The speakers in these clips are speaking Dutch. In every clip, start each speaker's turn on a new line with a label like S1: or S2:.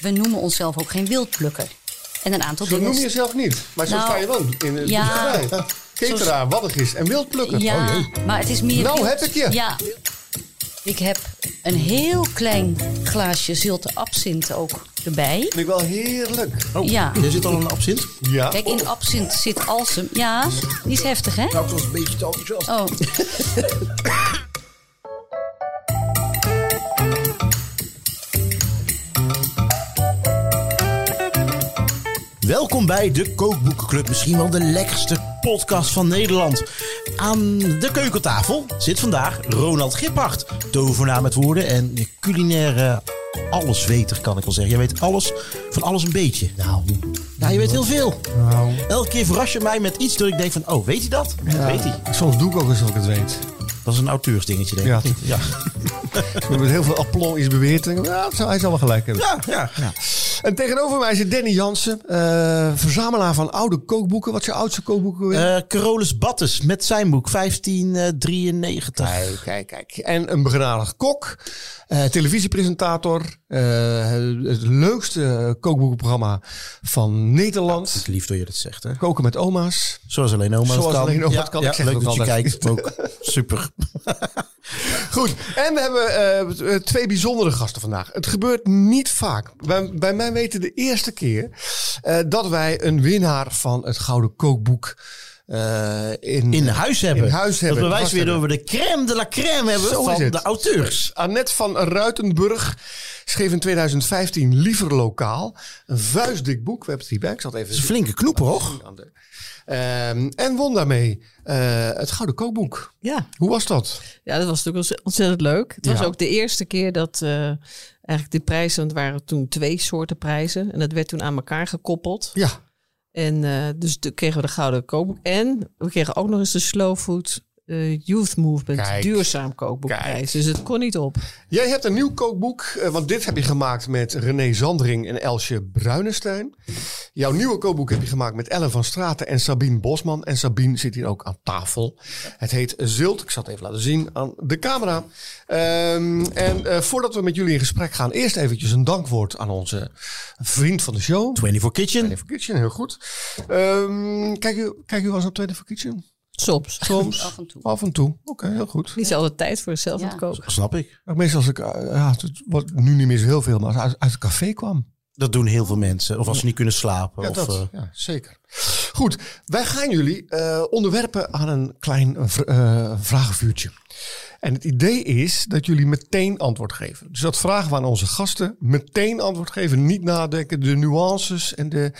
S1: we noemen onszelf ook geen wildplukker. En een aantal
S2: Zo
S1: dingen.
S2: noem je jezelf niet. Maar zo
S1: Nou,
S2: sta je wel in de
S1: ja.
S2: boerderij. Cateraar, waddigis en wildplukker.
S1: Ja,
S2: Oh, jee.
S1: maar het is meer.
S2: Nou
S1: wild.
S2: heb ik je.
S1: Ja. Ik heb een heel klein glaasje zilte absint ook erbij.
S2: Vind ik wel heerlijk.
S3: Oh,
S1: Ja.
S3: er zit al een absint.
S2: Ja. Oh,
S1: Kijk, in absint zit alsem. Ja, die is heftig, hè?
S3: Nou, ik was een beetje te enthousiast.
S1: Oh.
S3: Welkom bij de Kookboekenclub, misschien wel de lekkerste podcast van Nederland. Aan de keukentafel zit vandaag Ronald Gippacht, tovenaar met woorden en culinaire allesweter kan ik wel zeggen. Jij weet alles, van alles een beetje.
S4: Nou,
S3: Nou, je weet heel veel.
S4: nou.
S3: Elke keer verras je mij met iets dat ik denk van, oh, weet hij dat?
S4: ja,
S3: Weet hij.
S4: Soms doe ik ook eens dat ik het weet.
S3: Dat is een auteursdingetje, denk
S2: Ja.
S3: ik. Ja.
S2: We hebben heel veel aplomb is beweerd. En ik denk, Ja, het zou- hij zal wel gelijk hebben.
S3: Ja, ja, ja.
S2: En tegenover mij zit Danny Jansen. eh, verzamelaar van oude kookboeken. Wat is je oudste kookboek? ook weer?
S3: Eh, Carolus Battes met zijn boek eh, 1593.
S2: Kijk, kijk, kijk. En een begenadigd kok, eh, televisiepresentator, eh, het leukste kookboekenprogramma van
S3: Het
S2: Nederland.
S3: is lief dat je dat zegt, hè?
S2: Koken met oma's.
S3: Zoals alleen oma het
S2: Zoals
S3: kan.
S2: alleen oma het kan.
S3: Ja,
S2: Ik zeg
S3: leuk
S2: het
S3: dat
S2: ook
S3: je
S2: altijd.
S3: kijkt. Ook super.
S2: Goed, en we hebben eh, eh, twee bijzondere gasten vandaag. Het gebeurt niet vaak. Bij, bij mij weten de eerste keer eh, dat wij een winnaar van het Gouden Kookboek eh, in,
S3: In huis hebben.
S2: In huis hebben.
S3: Dat bewijst
S2: Vast
S3: weer dat
S2: hebben.
S3: we de crème de la crème hebben
S2: Zo is
S3: van
S2: het.
S3: de auteurs.
S2: Annette van Ruitenburg schreef in 2015 Liever Lokaal. Een vuistdik boek. We hebben het hierbij. Ik zal het even
S3: Dat is een flinke knoep, hoor.
S2: aan de- Ehm, en won daarmee eh, het Gouden Kookboek.
S5: Ja,
S2: Hoe was dat?
S5: ja, dat was natuurlijk ontzettend leuk. Het was
S2: Ja.
S5: ook de eerste keer dat eh, eigenlijk de prijzen, want het waren toen twee soorten prijzen. En dat werd toen aan elkaar gekoppeld.
S2: Ja.
S5: En eh, dus toen kregen we de Gouden Kookboek. En we kregen ook nog eens de Slow Food eh, Youth Movement
S2: Kijk.
S5: Duurzaam Kookboekprijs. Dus het kon niet op.
S2: Jij hebt een nieuw kookboek, eh, want dit heb je gemaakt met René Zandring en Elsje Bruinestein. Jouw nieuwe kookboek heb je gemaakt met Ellen van Straten en Sabine Bosman. En Sabine zit hier ook aan tafel. Het heet Zult. Ik zal het even laten zien aan de camera. Ehm, en eh, voordat we met jullie in gesprek gaan, eerst eventjes een dankwoord aan onze vriend van de show.
S3: 24 Kitchen.
S2: Tweede for Kitchen, heel goed. Ehm, kijk, u, kijk u wel eens op Tweede for Kitchen?
S5: Soms.
S2: Soms.
S1: Af en toe.
S2: Af en toe. Oké, heel goed.
S5: Niet altijd tijd voor zelf aan het
S1: Ja.
S5: koken.
S3: Snap ik.
S2: Maar Meestal als ik, eh, ja, het wordt nu niet meer zo heel veel, maar als ik uit, uit het café kwam.
S3: Dat doen heel veel mensen. Of als ze niet kunnen slapen.
S2: Ja,
S3: of,
S2: dat.
S3: eh,
S2: ja, zeker. Goed, wij gaan jullie eh, onderwerpen aan een klein eh, vr- eh, vragenvuurtje. En het idee is dat jullie meteen antwoord geven. Dus dat vragen we aan onze gasten. Meteen antwoord geven, niet nadenken. De nuances en de,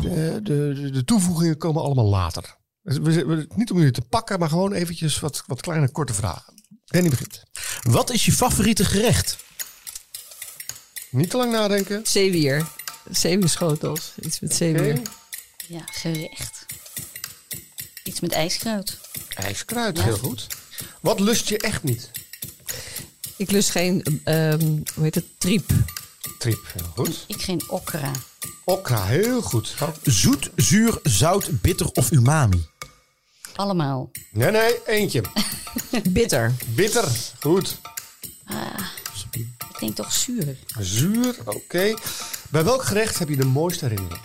S2: de, de, de- de toevoegingen komen allemaal later. Dus we- we- niet om jullie te pakken, maar gewoon eventjes wat, wat kleine, korte vragen. Danny begint.
S3: Wat is je favoriete gerecht?
S2: Niet te lang nadenken.
S5: Zeewier. Zeewierschotels. Iets met zeewier.
S2: Oké.
S1: Ja, gerecht. Iets met ijskruid.
S2: IJskruid,
S1: Ja.
S2: heel goed. Wat lust je echt niet?
S5: Ik lust geen, ehm, hoe heet het, triep.
S2: Trip, heel goed.
S1: Ik geen okra.
S2: Okra, heel goed.
S1: Oh.
S3: Zoet, zuur, zout, bitter of umami?
S1: Allemaal.
S2: Nee, nee, eentje.
S5: Bitter.
S2: Bitter, goed.
S1: Ik denk toch zuur.
S2: Zuur, oké. Bij welk gerecht heb je de mooiste herinnering?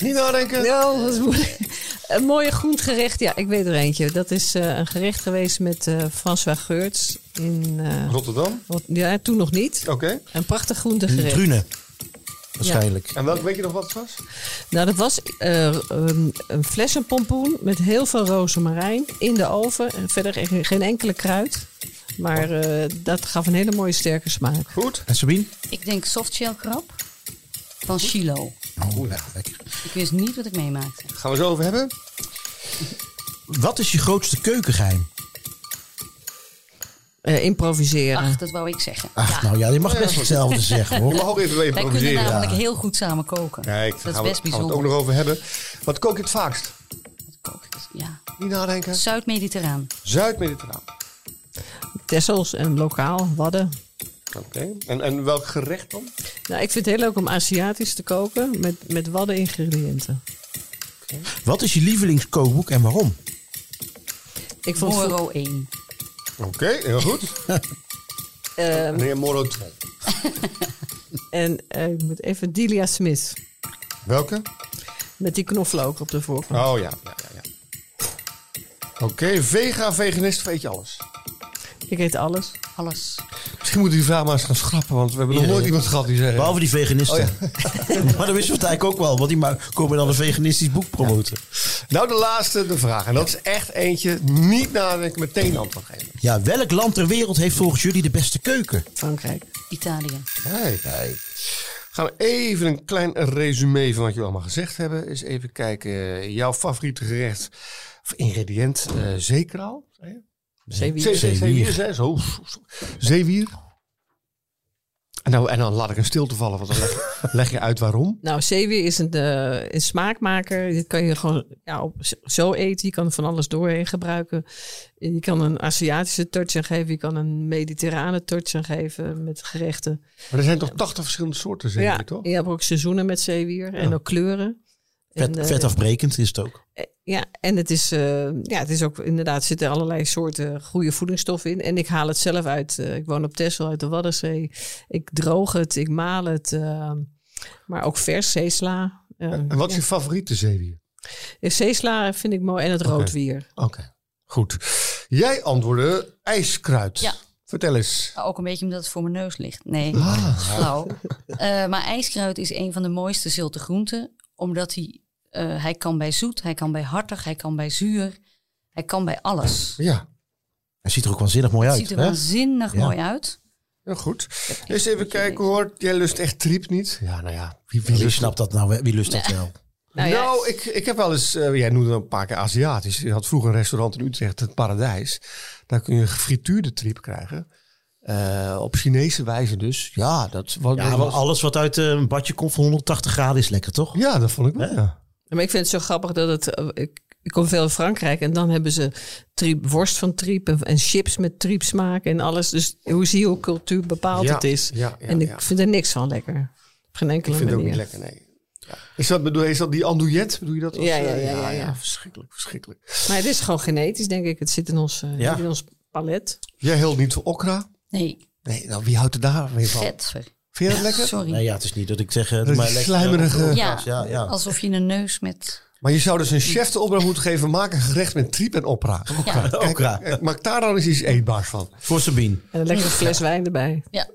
S2: Niet nadenken.
S5: Ja, dat is moeilijk. Een mooie groentgerecht. Ja, ik weet er eentje. Dat is eh, een gerecht geweest met eh François Geurts. In, eh,
S2: Rotterdam,
S5: wat- ja, toen nog niet.
S2: oké.
S5: Een prachtig groentegerecht.
S3: Drunen. Waarschijnlijk.
S2: En welk, weet je nog wat het was?
S5: Nou, dat was eh, een, een flessenpompoen met heel veel rozemarijn in de oven. En verder geen- geen enkele kruid. Maar eh, dat gaf een hele mooie sterke smaak.
S2: Goed.
S3: En Sabine?
S1: Ik denk softshell krab van Chilo.
S3: Oh, ja, lekker.
S1: Ik wist niet wat ik meemaakte.
S2: Gaan we zo over hebben.
S3: Wat is je grootste keukengeheim?
S5: Eh, improviseren.
S1: Ach, dat wou ik zeggen.
S3: Ach,
S1: ja.
S3: nou ja, je mag best hetzelfde zeggen, hoor.
S2: Je mag ook even mee
S1: Wij kunnen
S2: improviseren.
S1: namelijk heel goed samen koken.
S2: Kijk, daar
S1: dat is best
S2: gaan we, gaan we het
S1: bijzonder.
S2: ook nog over hebben. Wat kook je het vaakst?
S1: Koken is- Ja.
S2: Niet nadenken.
S1: Zuid-Mediterraan.
S2: Zuid-Mediterraan.
S5: Tessels en lokaal, wadden.
S2: Oké. En, en welk gerecht dan?
S5: Nou, ik vind het heel leuk om Aziatisch te koken met, met wadden ingrediënten.
S3: Wat is je lievelingskookboek en waarom?
S5: Ik vond
S1: Moro 1.
S2: Oké, heel goed.
S5: Eh, Ehm,
S2: Meneer Morrow 2.
S5: en eh, ik moet even Delia Smith.
S2: Welke?
S5: Met die knoflook op de voorkant.
S2: Oh ja, ja, ja. ja. Oké, vega, veganist, of eet je alles?
S5: Ik eet alles.
S1: Alles.
S2: Misschien moeten we die vraag maar eens gaan schrappen, want we hebben nog
S3: Ja.
S2: nooit iemand gehad die zei...
S3: Behalve die veganisten. maar dat wisten we het eigenlijk ook wel. Want die ma- komen dan een veganistisch boek promoten.
S2: Nou, de laatste, de vraag. En dat is echt eentje, niet nadenken, meteen antwoord geven.
S3: Ja, welk land ter wereld heeft volgens jullie de beste keuken?
S5: Frankrijk.
S1: Italië.
S2: Kijk. Gaan we even een klein resume van wat jullie allemaal gezegd hebben. Eens even kijken, jouw favoriete gerecht of ingrediënt, eh zeker al? zei je?
S5: Zeewier.
S2: Zee- zee- Zeewier, zei je? zo. Zeewier. En, nou, en dan laat ik een stilte vallen, want dan leg, leg je uit waarom.
S5: Nou, zeewier is een, eh, een smaakmaker. Dit kan je gewoon ja, op, z- zo eten. Je kan er van alles doorheen gebruiken. Je kan een Aziatische touch aan geven. Je kan een mediterrane touch aan geven met gerechten.
S2: Maar er zijn toch 80 verschillende soorten zeewier,
S5: ja,
S2: toch?
S5: je hebt ook seizoenen met zeewier. En ook kleuren.
S3: Vet,
S5: en, eh,
S3: vetafbrekend is het ook.
S5: Ja, en het is, eh, ja, het is ook inderdaad, zitten allerlei soorten goede voedingsstoffen in. En ik haal het zelf uit. eh, ik woon op Texel uit de Waddenzee. Ik droog het, ik maal het. eh, maar ook vers zeesla. Eh,
S2: En wat is je favoriete zeewier?
S5: ja, zeesla vind ik mooi en het roodwier.
S2: Oké, goed. Jij antwoordde ijskruid.
S1: Ja.
S2: Vertel eens.
S1: Maar ook een beetje omdat het voor mijn neus ligt. Nee,
S2: Ah.
S1: flauw. Eh, maar ijskruid is een van de mooiste zilte groenten. Omdat hij, eh, hij kan bij zoet, hij kan bij hartig, hij kan bij zuur. Hij kan bij alles.
S2: Ja,
S3: Hij ziet er ook waanzinnig mooi
S1: Het
S3: uit.
S1: ziet er
S3: hè?
S1: waanzinnig
S3: Ja.
S1: mooi uit.
S2: ja goed. Eens even kijken hoor. Jij lust echt triep niet? Ja, nou ja. Wie, wie
S3: Wie
S2: lust
S3: snapt dat nou? hè? Wie lust dat wel?
S5: Nou ja,
S2: Nou, ik, ik heb wel eens, eh, jij noemde een paar keer Aziatisch. Je had vroeger een restaurant in Utrecht, het Paradijs. Daar kun je gefrituurde triep krijgen. Eh, op Chinese wijze dus. Ja, dat was.
S3: Ja, maar alles wat uit eh, een badje komt van 180 graden is lekker, toch?
S2: ja dat vond ik wel. Ja.
S5: Maar ik vind het zo grappig dat het. eh, Ik, ik kom veel in Frankrijk en dan hebben ze triep, worst van triep en, en chips met triepsmaak en alles. Dus hoe zie je hoe cultuur bepaald
S2: Ja,
S5: het is.
S2: ja, ja,
S5: en ik
S2: ja.
S5: vind er niks van lekker. Op geen enkele
S2: Ik vind het ook
S5: manier.
S2: niet lekker, nee. Ja. Is, dat, bedoel, is dat die andouillet? Bedoel je dat? als,
S5: Ja, ja,
S2: eh,
S5: ja, ja, ja.
S2: verschrikkelijk, verschrikkelijk.
S5: Maar het is gewoon genetisch, denk ik. Het zit in ons, eh,
S3: Ja.
S5: zit in ons palet.
S2: Jij hield niet van okra?
S1: Nee,
S2: Nee, nou, wie houdt er daar weer van?
S1: vetver.
S2: Vind je dat lekker?
S1: Sorry.
S3: Nee, ja, het is niet dat ik zeg... eh,
S2: Dat
S3: maar
S2: is
S3: lekker-
S2: slijmerige...
S1: ja,
S3: ja, ja.
S1: alsof je een neus met...
S2: Maar je zou dus een chef de opdracht moeten geven, maak een gerecht met triep en opra.
S1: Ja,
S3: Okra.
S2: Eh, Maak daar dan eens iets eetbaars van.
S3: Voor Sabine.
S5: En een lekkere fles wijn erbij.
S1: ja.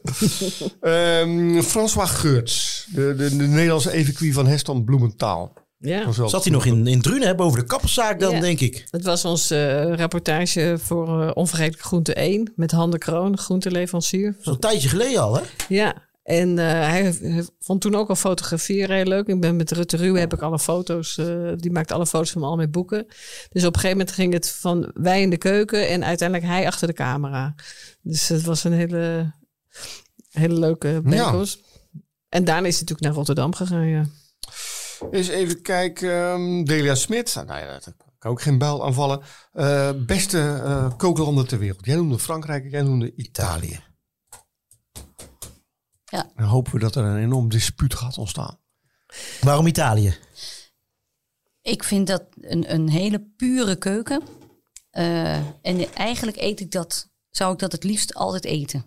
S2: Ehm, François Geurts, de, de, de Nederlandse evacuee van Heston Bloementaal.
S5: Ja.
S2: Was wel-
S3: Zat hij nog in, in Drunen, hè, boven de kapperszaak dan,
S5: Ja.
S3: denk ik.
S5: Het was onze rapportage voor eh, Onvergetelijke Groente 1 met Hande Kroon, groenteleverancier.
S3: Zo'n tijdje geleden al, hè?
S5: Ja, en eh, hij heeft- vond toen ook al fotograferen heel leuk. Ik ben met Rutte Ruwe, heb ik alle foto's, eh, die maakt alle foto's van me al met boeken. Dus op een gegeven moment ging het van wij in de keuken en uiteindelijk hij achter de camera. Dus het was een hele, hele leuke bijeenkomst. En daarna is hij natuurlijk naar Rotterdam gegaan, ja.
S2: Eens even kijken, ehm, Delia Smit. Nou, nou ja, dat kan ook geen buil aanvallen. Eh, beste eh, kooklanden ter wereld. Jij noemde Frankrijk, jij noemde Italië.
S1: Ja.
S2: Dan hopen we dat er een enorm dispuut gaat ontstaan.
S3: Waarom Italië?
S1: Ik vind dat een, een hele pure keuken. Eh, en eigenlijk eet ik dat, zou ik dat het liefst altijd eten.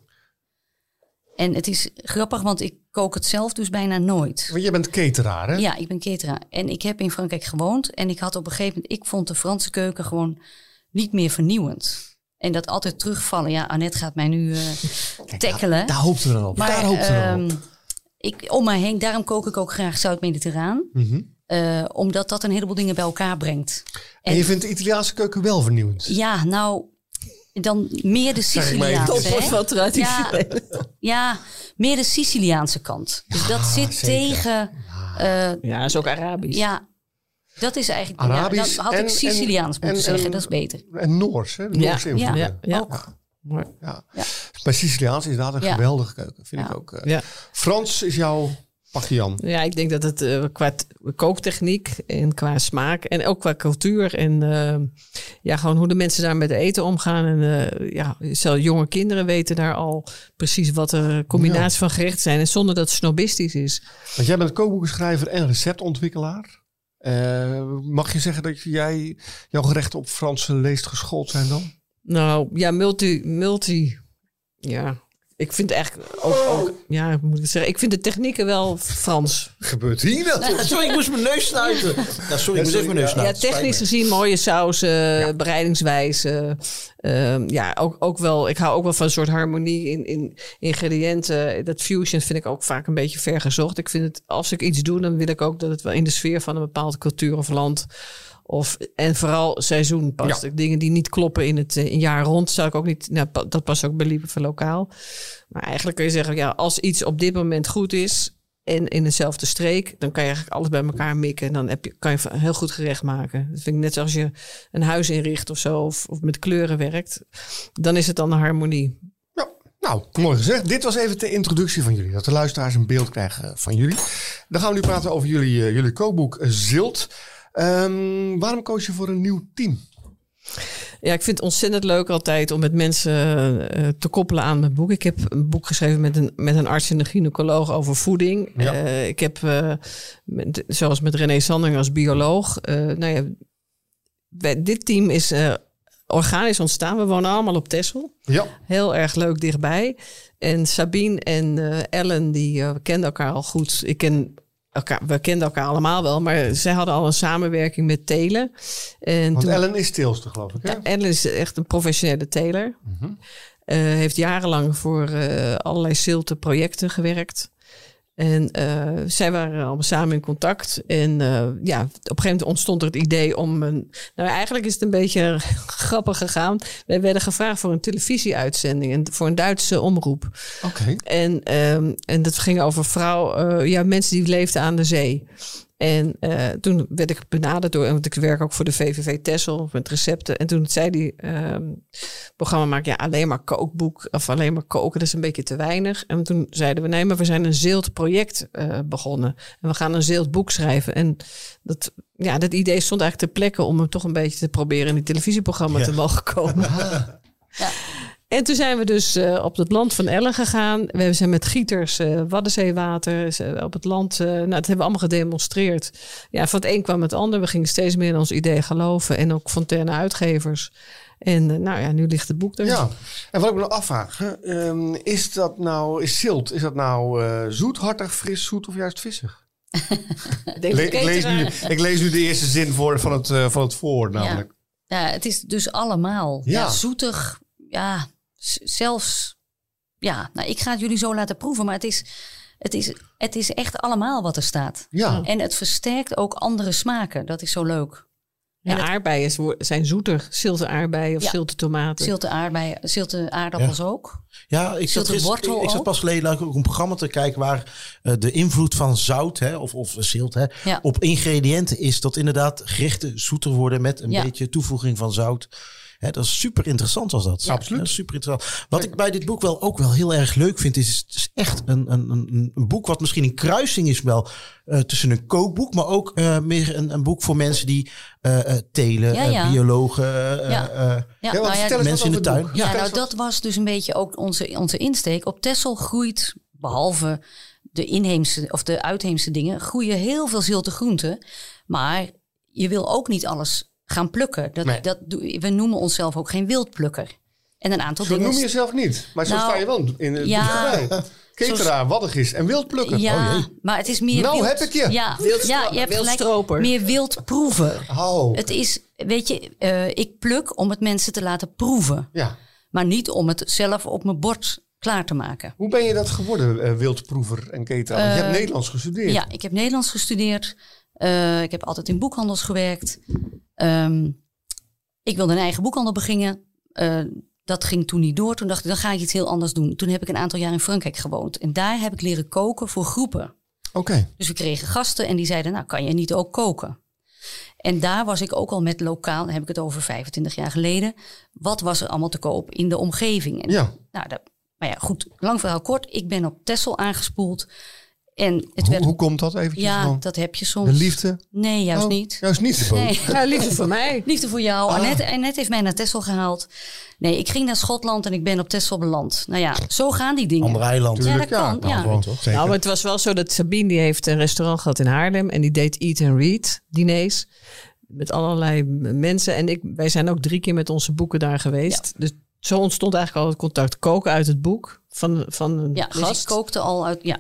S1: En het is grappig, want ik kook het zelf dus bijna nooit.
S2: Want jij bent cateraar, hè?
S1: Ja, ik ben ketera. En ik heb in Frankrijk gewoond. En ik had op een gegeven moment, ik vond de Franse keuken gewoon niet meer vernieuwend. En dat altijd terugvallen. Ja, Annette gaat mij nu eh tackelen.
S2: Daar hoopten we dan op. daar hoopten we dan op.
S1: ehm, ik, om mij heen, daarom kook ik ook graag Zuid-Mediterraan.
S2: Mhm.
S1: Eh, omdat dat een heleboel dingen bij elkaar brengt.
S2: En je vindt de Italiaanse keuken wel vernieuwend?
S1: Ja, nou, dan meer de
S2: Zeg ik maar even.
S1: Siciliaanse.
S5: Topsoort
S1: hè?
S5: van traditionele.
S1: Ja, ja, meer de Siciliaanse kant. Dus dat zit
S2: zeker.
S1: tegen. eh,
S5: Ja, is ook Arabisch.
S1: ja, dat is eigenlijk. ja,
S2: Arabisch
S1: dan had
S2: en-
S1: ik Siciliaans
S2: en-
S1: moeten
S2: en-
S1: zeggen,
S2: en-
S1: dat is beter.
S2: En Noors, hè? De
S5: Ja,
S2: Noorse invloeden.
S5: ja, ja. Mooi.
S2: Ja.
S1: Ja.
S2: Maar Siciliaans is inderdaad een
S1: Ja.
S2: geweldige keuken, vind
S1: Ja.
S2: ik ook. eh.
S5: Ja.
S2: Frans is jouw pakje Jan.
S5: Ja, ik denk dat het eh, qua t- kooktechniek en qua smaak en ook qua cultuur en eh, ja, gewoon hoe de mensen daar met eten omgaan. En eh, ja, zelfs jonge kinderen weten daar al precies wat de combinaties van gerechten zijn. En zonder dat het snobistisch is.
S2: Want jij bent kookboekenschrijver en receptontwikkelaar. Eh, mag je zeggen dat jij jouw gerechten op Franse leest geschoold zijn dan?
S5: Nou ja, multi, multi, ja. Ik vind eigenlijk ook, ook ja, hoe moet ik het zeggen? Ik vind de technieken wel Frans.
S2: Gebeurt hier dat?
S3: Sorry, ik moest mijn neus snuiten. Ja, sorry, ik moest even mijn neus
S5: ja,
S3: snuiten.
S5: technisch
S3: nou, Spijt
S5: gezien mooie sauzen, bereidingswijze. Ehm, ja, ook, ook wel. Ik hou ook wel van een soort harmonie in, in ingrediënten. Dat fusion vind ik ook vaak een beetje vergezocht. Ik vind het, als ik iets doe, dan wil ik ook dat het wel in de sfeer van een bepaalde cultuur of land. Of, en vooral seizoen past. Ik- Dingen die niet kloppen in het eh, in jaar rond, zou ik ook niet. Nou, pa- dat past ook bij Liebe voor Lokaal. Maar eigenlijk kun je zeggen, ja, als iets op dit moment goed is en in dezelfde streek, dan kan je eigenlijk alles bij elkaar mikken. En dan heb je, kan je een heel goed gerecht maken. Dat vind ik net zoals je een huis inricht of zo, of, of met kleuren werkt. Dan is het dan een harmonie.
S2: Ja, nou, mooi gezegd. Dit was even de introductie van jullie. Dat de luisteraars een beeld krijgen eh, van jullie. Dan gaan we nu praten over jullie, eh, jullie kookboek eh, Zilt. Ehm, waarom koos je voor een nieuw team?
S5: Ja, ik vind het ontzettend leuk altijd om met mensen eh, te koppelen aan mijn boek. Ik heb een boek geschreven met een, met een arts en een gynaecoloog over voeding.
S2: Ja.
S5: Eh, ik heb, eh, met- zoals met René Sanding als bioloog. eh, nou ja, wij- dit team is eh, organisch ontstaan. We wonen allemaal op Texel.
S2: Ja,
S5: Heel erg leuk dichtbij. En Sabine en eh, Ellen, die eh, we kenden elkaar al goed. Ik ken elkaar, we kenden elkaar allemaal wel, maar zij hadden al een samenwerking met Telen. En
S2: want
S5: toen-
S2: Ellen is stilste, geloof ik. Hè?
S5: ja, Ellen is echt een professionele teler. Eh, heeft jarenlang voor eh, allerlei zilte projecten gewerkt. En eh, zij waren allemaal samen in contact. En eh, ja, op een gegeven moment ontstond er het idee om een. Nou, eigenlijk is het een beetje grappig gegaan. Wij werden gevraagd voor een televisieuitzending en voor een Duitse omroep.
S2: Oké.
S5: En, ehm, en dat ging over vrouw, eh, ja, mensen die leefden aan de zee. En eh, toen werd ik benaderd door, want ik werk ook voor de VVV Tessel met recepten. En toen zei die ehm programma maakt, ja, alleen maar kookboek of alleen maar koken, dat is een beetje te weinig. En toen zeiden we, nee, maar we zijn een zilt project eh, begonnen. En we gaan een zilt boek schrijven. En dat, ja, dat idee stond eigenlijk ter plekke om hem toch een beetje te proberen in die televisieprogramma te mogen komen. En toen zijn we dus eh, op het land van Ellen gegaan. We zijn met gieters, eh Waddenzeewater, is, eh, op het land. eh, nou, dat hebben we allemaal gedemonstreerd. Ja, van het een kwam het ander. We gingen steeds meer in ons idee geloven. En ook Fontana Uitgevers. En eh, nou ja, nu ligt het boek er.
S2: Ja, en wat ik me nog afvraag, hè, ehm, is dat nou, is zilt, is dat nou eh, zoet, hartig, fris, zoet of juist vissig?
S5: Ik denk
S2: Le-
S5: de
S2: ik, lees nu,
S5: cateraar.
S2: ik lees nu de eerste zin voor, van, het, eh, van het voor namelijk.
S1: eh? Ja, het is dus allemaal.
S2: Ja.
S1: Ja. zoetig. Ja, z- zelfs. Ja, nou, ik ga het jullie zo laten proeven, maar het is, het is, het is echt allemaal wat er staat.
S2: Ja,
S1: En het versterkt ook andere smaken. Dat is zo leuk.
S5: Ja, aardbeien wo- zijn zoeter. Zilte aardbeien of
S1: Ja.
S5: zilte tomaten.
S1: Zilte, aardbeien, zilte aardappels ook.
S3: Ja, ik zat,
S1: Zult de
S3: gister-
S1: wortel
S3: ik, ik zat
S1: ook?
S3: pas geleden ook een programma te kijken waar eh, de invloed van zout hè, of, of zilt hè,
S1: Ja.
S3: op ingrediënten is dat inderdaad gerechten zoeter worden met een
S1: Ja.
S3: beetje toevoeging van zout. Hè, dat is super interessant als dat.
S2: absoluut.
S3: Ja, super interessant. Wat ik bij dit boek wel ook wel heel erg leuk vind, is, het is echt een, een, een, een boek wat misschien een kruising is wel eh, tussen een kookboek, maar ook eh, meer een, een boek voor mensen die eh, eh, telen,
S1: Ja,
S3: eh,
S1: ja.
S3: biologen, eh,
S1: Ja.
S3: eh, eh,
S1: Ja,
S2: want
S1: nou ja,
S2: vertel eens
S3: mensen
S2: wat
S3: in
S2: over
S3: de tuin.
S2: het boek.
S1: Ja,
S2: Vertel
S1: nou
S2: eens wat-
S1: dat was dus een beetje ook onze, onze insteek. Op Texel groeit, behalve de inheemse of de uitheemse dingen, groeien heel veel zilte groenten. Maar je wil ook niet alles gaan plukken. Dat,
S2: Nee.
S1: dat, doe- we noemen onszelf ook geen wildplukker. En een aantal
S2: Zo
S1: dingen.
S2: noem je jezelf niet, maar zo
S1: Nou,
S2: sta je wel in het
S1: ja.
S2: ja. Keteraar, waddig is en wild plukken.
S1: ja,
S2: Oh, jee.
S1: maar het is meer.
S2: Nou
S1: wild-
S2: heb ik je.
S1: Ja,
S5: Wildstro-
S1: ja je hebt
S5: wildstroper.
S1: gelijk meer wild proeven.
S2: Oh,
S1: Het is, weet je, eh, ik pluk om het mensen te laten proeven,
S2: ja.
S1: maar niet om het zelf op mijn bord klaar te maken.
S2: Hoe ben je dat geworden, eh, wildproever en cateraar? Want je hebt Nederlands gestudeerd.
S1: Eh, Ja, ik heb Nederlands gestudeerd. Eh, ik heb altijd in boekhandels gewerkt. Ehm, ik wilde een eigen boekhandel beginnen. Eh, dat ging toen niet door. Toen dacht ik, dan ga ik iets heel anders doen. Toen heb ik een aantal jaar in Frankrijk gewoond. En daar heb ik leren koken voor groepen.
S2: Oké.
S1: Dus we kregen gasten en die zeiden, nou kan je niet ook koken? En daar was ik ook al met lokaal, dan heb ik het over 25 jaar geleden. Wat was er allemaal te koop in de omgeving? En
S2: Ja.
S1: nou, dat, maar ja, goed, lang verhaal kort. Ik ben op Texel aangespoeld. En het
S2: Hoe,
S1: werd
S2: hoe komt dat eventjes?
S1: ja,
S2: gewoon?
S1: dat heb je
S2: De
S1: soms.
S2: liefde?
S1: Nee, juist
S2: Oh, Ah.
S1: niet.
S2: Juist niet.
S1: Nee.
S5: Ja, liefde voor mij.
S1: Liefde voor jou. Annette, Annette heeft mij naar Texel gehaald. Nee, ik ging naar Schotland en ik ben op Texel beland. Nou ja, zo gaan die dingen.
S3: ander eiland.
S1: Ja, dat kan.
S2: nou,
S1: ja.
S2: gewoon toch? Zeker.
S5: Nou, maar het was wel zo dat Sabine die heeft een restaurant gehad in Haarlem en die deed eat and read diners met allerlei m- mensen en ik wij zijn ook drie keer met onze boeken daar geweest. Dus zo ontstond eigenlijk al het contact. Koken uit het boek van, van een
S1: Ja, dus
S5: gast.
S1: ik kookte al uit. Ja,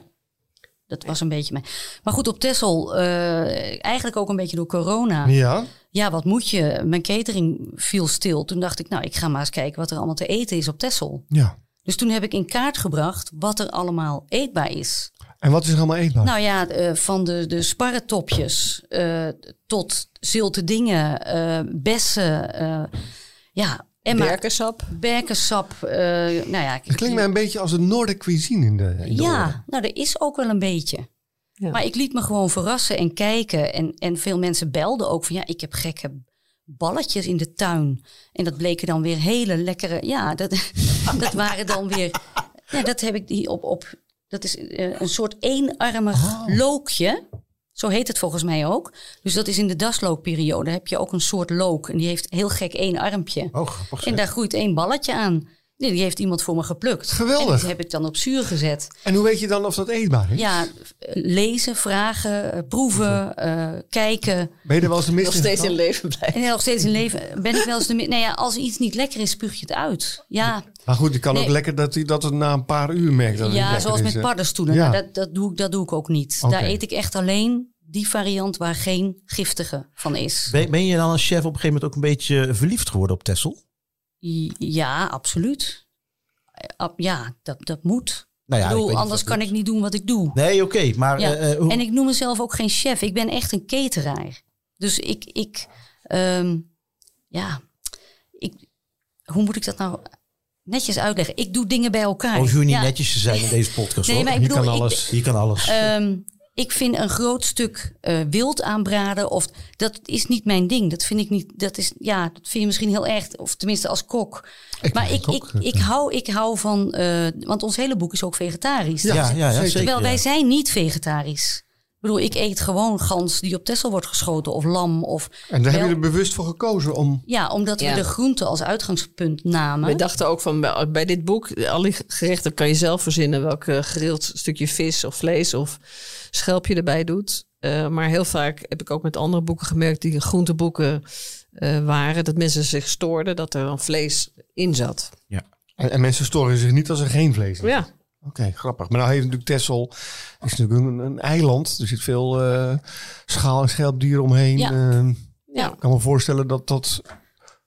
S1: dat was een beetje mijn. Maar goed, op Texel, eh, eigenlijk ook een beetje door corona. Ja.
S2: Ja.
S1: wat moet je? Mijn catering viel stil. Toen dacht ik, nou, ik ga maar eens kijken wat er allemaal te eten is op Texel.
S2: ja.
S1: Dus toen heb ik in kaart gebracht wat er allemaal eetbaar is.
S2: En wat is er allemaal eetbaar?
S1: Nou ja, eh, van de, de sparretopjes eh, tot zilte dingen, eh, bessen, eh, ja, en maar
S5: Berkensap.
S1: berkensap. eh, nou ja,
S2: het klinkt mij een beetje als een Noorder cuisine in de, in de oren.
S1: ja, nou, er is ook wel een beetje.
S5: Ja.
S1: Maar ik liet me gewoon verrassen en kijken. En, en veel mensen belden ook van ja, ik heb gekke balletjes in de tuin. En dat bleken dan weer hele lekkere. Ja, dat, dat waren dan weer. Ja, dat heb ik hier op. op dat is eh, een soort eenarmig
S2: Oh.
S1: lookje. Zo heet het volgens mij ook. Dus dat is in de daslookperiode. Heb je ook een soort look. En die heeft heel gek één armpje.
S2: Oh, grappig. zeg.
S1: En daar groeit één balletje aan. Nee, Die heeft iemand voor me geplukt.
S2: Geweldig.
S1: En die heb ik dan op zuur gezet.
S2: En hoe weet je dan of dat eetbaar is?
S1: Ja, eh, lezen, vragen, eh, proeven, eh, kijken.
S2: Ben je er wel eens de mist
S5: Nog
S2: in
S5: steeds in
S2: getrapt?
S5: leven blijven.
S1: En nog steeds in leven ben ik wel eens de... mi- Nou ja, als iets niet lekker is, spuug je het uit. Ja,
S2: Maar Nou goed, je kan ook
S1: Nee.
S2: lekker dat, hij- dat het na een paar uur merkt dat het niet
S1: ja
S2: lekker
S1: zoals
S2: is,
S1: met
S2: hè.
S1: paddenstoelen.
S2: Ja.
S1: Nou, dat, dat, doe ik, dat doe ik ook niet.
S2: Oké.
S1: Daar eet ik echt alleen die variant waar geen giftige van is.
S3: Ben, ben je dan als chef op een gegeven moment ook een beetje verliefd geworden op Tessel?
S1: I- Ja, absoluut. Eh, ab- Ja, dat, dat moet.
S3: Nou
S1: ik
S3: ja, ik weet
S1: bedoel,
S3: niet
S1: anders
S3: of dat
S1: kan ik niet doen wat ik doe.
S3: Nee, oké, maar
S1: Ja.
S3: eh, eh, hoe-
S1: En ik noem mezelf ook geen chef. Ik ben echt een cateraar. Dus ik, ik ehm, ja, ik, hoe moet ik dat nou netjes uitleggen? Ik doe dingen bij elkaar.
S3: of Oh, je hoeft niet
S1: Ah, Ja.
S3: netjes te zijn in deze podcast.
S1: Nee,
S3: hoor.
S1: maar ik
S2: Je
S1: bedoel,
S2: kan
S1: ik-
S2: alles.
S3: Je kan alles.
S1: ehm, ik vind een groot stuk eh, wild aanbraden, of dat is niet mijn ding. Dat vind ik niet. Dat is ja, dat vind je misschien heel erg, of tenminste als kok. maar
S2: ben
S1: ik,
S2: kok,
S1: ik,
S2: eh,
S1: ik hou, ik hou van, eh, want ons hele boek is ook vegetarisch.
S3: ja, ja, ja,
S2: zeker.
S3: zeker.
S1: Terwijl
S3: ja.
S1: wij zijn niet vegetarisch. Ik bedoel, ik eet gewoon gans die op Tessel wordt geschoten of lam. Of
S2: En daar heb je
S1: wel-
S2: er bewust voor gekozen om...
S1: Ja, omdat
S5: Ja.
S1: we de groente als uitgangspunt namen.
S5: We dachten ook van bij- bij dit boek, al die gerechten kan je zelf verzinnen welk eh, gerild stukje vis of vlees of schelpje erbij doet. Eh, maar heel vaak heb ik ook met andere boeken gemerkt die groenteboeken eh, waren, dat mensen zich stoorden dat er dan vlees in zat.
S2: En, en mensen storen zich niet als er geen vlees is.
S5: Ja,
S2: Oké, grappig. Maar nou heeft natuurlijk Texel is natuurlijk een, een eiland. Er zit veel eh, schaal- en schelpdieren omheen.
S1: Ja.
S2: Eh,
S5: ja.
S2: ik kan me voorstellen dat dat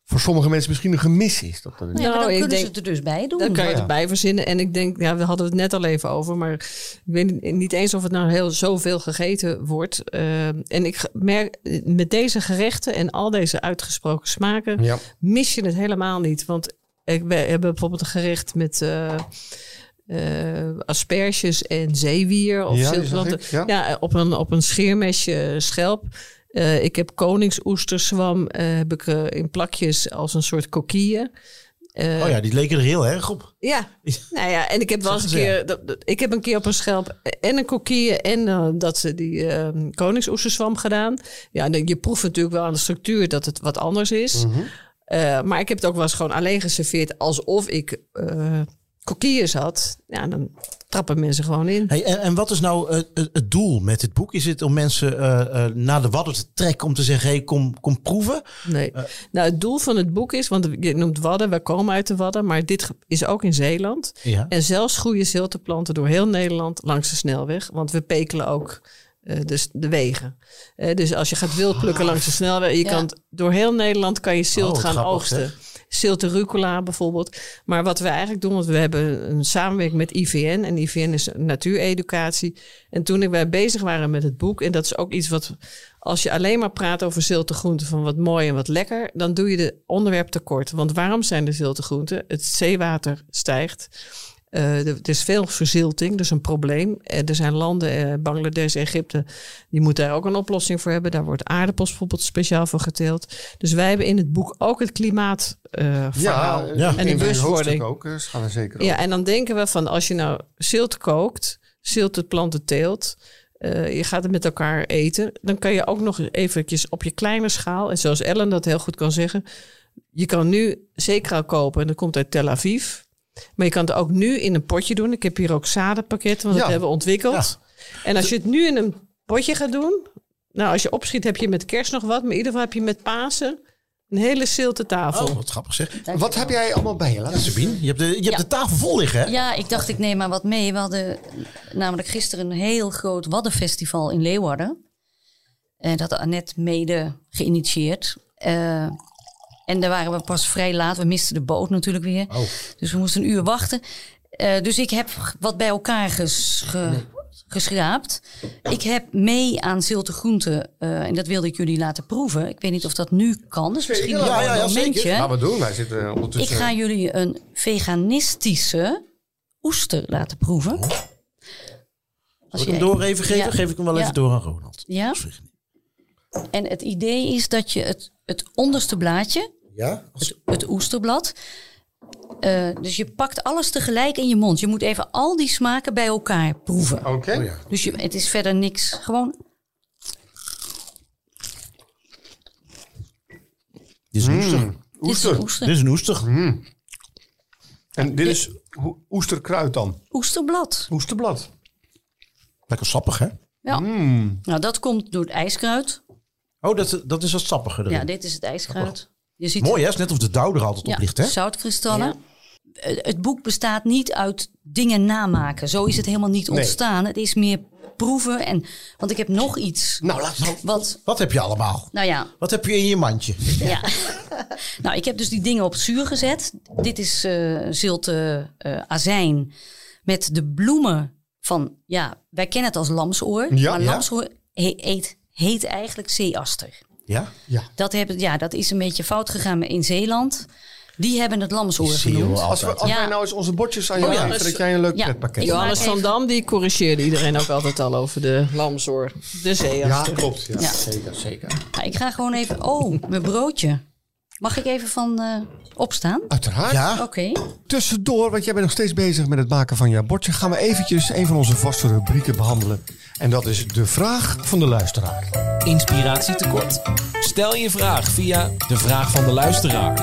S2: voor sommige mensen misschien een gemis is. Dat
S1: ja,
S2: dat
S1: maar dan
S5: Nou, ik
S1: kunnen ze
S5: denk-
S1: het er dus bij doen.
S5: Dan kan je
S2: Ja.
S5: erbij verzinnen. En ik denk, ja, we hadden het net al even over, maar ik weet niet- niet eens of het nou heel zoveel gegeten wordt. Eh, en ik merk eh, met deze gerechten en al deze uitgesproken smaken
S2: Ja.
S5: mis je het helemaal niet. Want ik, we hebben bijvoorbeeld een gerecht met eh, eh, asperges en zeewier. Of
S2: Ja, die
S5: zilverland.
S2: zag ik, ja.
S5: op, een, op een scheermesje schelp. Eh, ik heb koningsoesterzwam eh, heb ik eh, in plakjes als een soort kokieën. Eh,
S3: oh ja, die leken er heel erg op.
S5: ja, nou ja, en ik heb wel eens een
S3: Zeggen ze,
S5: keer, dat, dat- ik heb een keer op een schelp en een kokkie en eh, dat ze die ehm koningsoesterzwam gedaan. Ja, en je proeft natuurlijk wel aan de structuur dat het wat anders is.
S3: Mhm.
S5: Eh, maar ik heb het ook wel eens gewoon alleen geserveerd alsof ik eh kokieën zat. Ja, dan trappen mensen gewoon in.
S3: Hey, en, en wat is nou eh, het, het doel met dit boek? Is het om mensen eh, eh, naar de wadden te trekken om te zeggen, hey, kom, kom proeven?
S5: Nee.
S3: eh.
S5: nou, het doel van het boek is, want je noemt Wadden, wij komen uit de Wadden, maar dit ge- is ook in Zeeland.
S3: Ja.
S1: Eh,
S5: En zelfs groeien zilteplanten door heel Nederland langs de snelweg. Want we pekelen ook eh, dus de wegen. Eh, dus als je gaat wildplukken langs de snelweg... Je
S1: Ja.
S5: kan, t- door heel Nederland kan je
S3: Ah. Oh,
S5: zilt
S3: wat
S5: gaan
S3: grappig,
S5: oogsten.
S3: zeg.
S5: Zilte rucola bijvoorbeeld. Maar wat we eigenlijk doen... want we hebben een samenwerking met IVN... en IVN is natuureducatie. En toen ik- wij bezig waren met het boek... en dat is ook iets wat... als je alleen maar praat over zilte groenten... van wat mooi en wat lekker... dan doe je de onderwerp tekort. Want waarom zijn er zilte groenten? Het zeewater stijgt... Eh, er, er is veel verzilting, dus een probleem. Eh, er zijn landen, eh, Bangladesh, Egypte, die moeten daar ook een oplossing voor hebben. Daar wordt aardappels bijvoorbeeld speciaal voor geteeld. Dus wij hebben in het boek ook het klimaatverhaal.
S2: ja,
S3: Ja.
S2: en
S5: En
S2: de
S5: de
S2: bewustwording
S5: bewustwording.
S2: ook. eh, Ze gaan er zeker
S5: ja, en dan denken we van als je nou zilt kookt, zilt planten teelt, eh, je gaat het met elkaar eten, dan kan je ook nog eventjes op je kleine schaal, en zoals Ellen dat heel goed kan zeggen, je kan nu zeekraal kopen en dat komt uit Tel Aviv. Maar je kan het ook nu in een potje doen. Ik heb hier ook zadenpakketten, want
S2: Ja.
S5: dat hebben we ontwikkeld. En als je het nu in een potje gaat doen, nou als je opschiet heb je met kerst nog wat, maar in ieder geval heb je met Pasen Een hele zilte tafel.
S3: Oh, wat grappig zeg.
S2: Wat heb jij allemaal bij je? Laat
S3: Ja,
S2: eens-
S3: Sabine, je hebt de, je hebt
S1: Ja.
S3: de tafel vol liggen, hè?
S1: Ja, ik dacht ik neem maar wat mee. We hadden namelijk gisteren een heel groot Waddenfestival in Leeuwarden. En dat had Annette mede geïnitieerd. Eh, en daar waren we pas vrij laat. We misten de boot natuurlijk weer.
S3: Oh.
S1: Dus we moesten een uur wachten. Eh, dus ik heb g- wat bij elkaar ges- ge- geschraapt. Ik heb mee aan zilte groenten. eh, en dat wilde ik jullie laten proeven. Ik weet niet of dat nu kan. Dus misschien
S2: Zeker.
S1: wel
S2: Ja,
S1: een
S3: ja, ja, zeker.
S1: momentje.
S2: Laten we Nou, doen. Wij zitten eh, ondertussen.
S1: Ik ga jullie een veganistische oester laten proeven.
S3: Zal
S1: Als
S3: Oh. ik hem
S1: jij-
S3: door even geven?
S1: Ja.
S3: Geef ik hem wel
S1: Ja.
S3: even door aan Ronald.
S1: Ja, en het idee is dat je het, het onderste blaadje,
S3: Ja?
S1: het, het oesterblad, eh, dus je pakt alles tegelijk in je mond. Je moet even al die smaken bij elkaar proeven.
S2: Oké.
S3: Oh ja.
S1: Dus je, het is verder niks. Gewoon,
S3: Dit is een oester.
S1: dit is
S2: Oester.
S1: een oester,
S3: Dit is een oester.
S2: En dit is ho- oesterkruid dan.
S1: oesterblad.
S2: Oesterblad.
S3: Lekker sappig, hè?
S1: Ja.
S3: Mm.
S1: Nou, dat komt door het ijskruid.
S3: Oh, dat, dat is wat sappiger erin.
S1: Ja, dit is het ijskruid. Je ziet
S3: Mooi, hè? Het is net of de douw er altijd op ligt, hè?
S1: Zoutkristallen. Eh, Het boek bestaat niet uit dingen namaken. Zo is het helemaal niet ontstaan. Het is meer proeven. En, want ik heb nog iets.
S2: Nou, laat nou.
S1: Wat,
S3: Wat heb je allemaal?
S1: nou ja,
S3: Wat heb je in je mandje?
S1: ja. nou, ik heb dus die dingen op het zuur gezet. Dit is eh, zilte eh, azijn met de bloemen van, ja, wij kennen het als lamsoor.
S2: Ja,
S1: maar
S2: ja.
S1: lamsoor he- eet, heet eigenlijk zeeaster.
S3: Ja?
S2: Ja.
S1: Dat, hebben, ja, dat is een beetje fout gegaan in Zeeland. Die hebben het lamsoor
S3: Zie je
S1: genoemd.
S3: wel
S2: Als, we,
S3: altijd.
S2: als
S1: Ja.
S2: wij nou eens onze bordjes aan je
S5: Oh ja.
S2: geven, dat jij een leuk
S1: Ja.
S2: pretpakket
S1: Ik maak
S5: Johannes van
S1: even-
S5: Dam die corrigeerde iedereen ook altijd al over de lamsoor. De zeeaster.
S2: klopt.
S1: Ja.
S2: Zeker, zeker.
S1: Nou, ik ga gewoon even. Oh, mijn broodje. Mag ik even van eh, opstaan?
S2: Uiteraard.
S1: Oké.
S3: Ja?
S2: Tussendoor, want jij bent nog steeds bezig met het maken van jouw bordje, gaan we eventjes een van onze vaste rubrieken behandelen. En dat is de vraag van de luisteraar.
S4: Inspiratie tekort. Stel je vraag via de vraag van de luisteraar.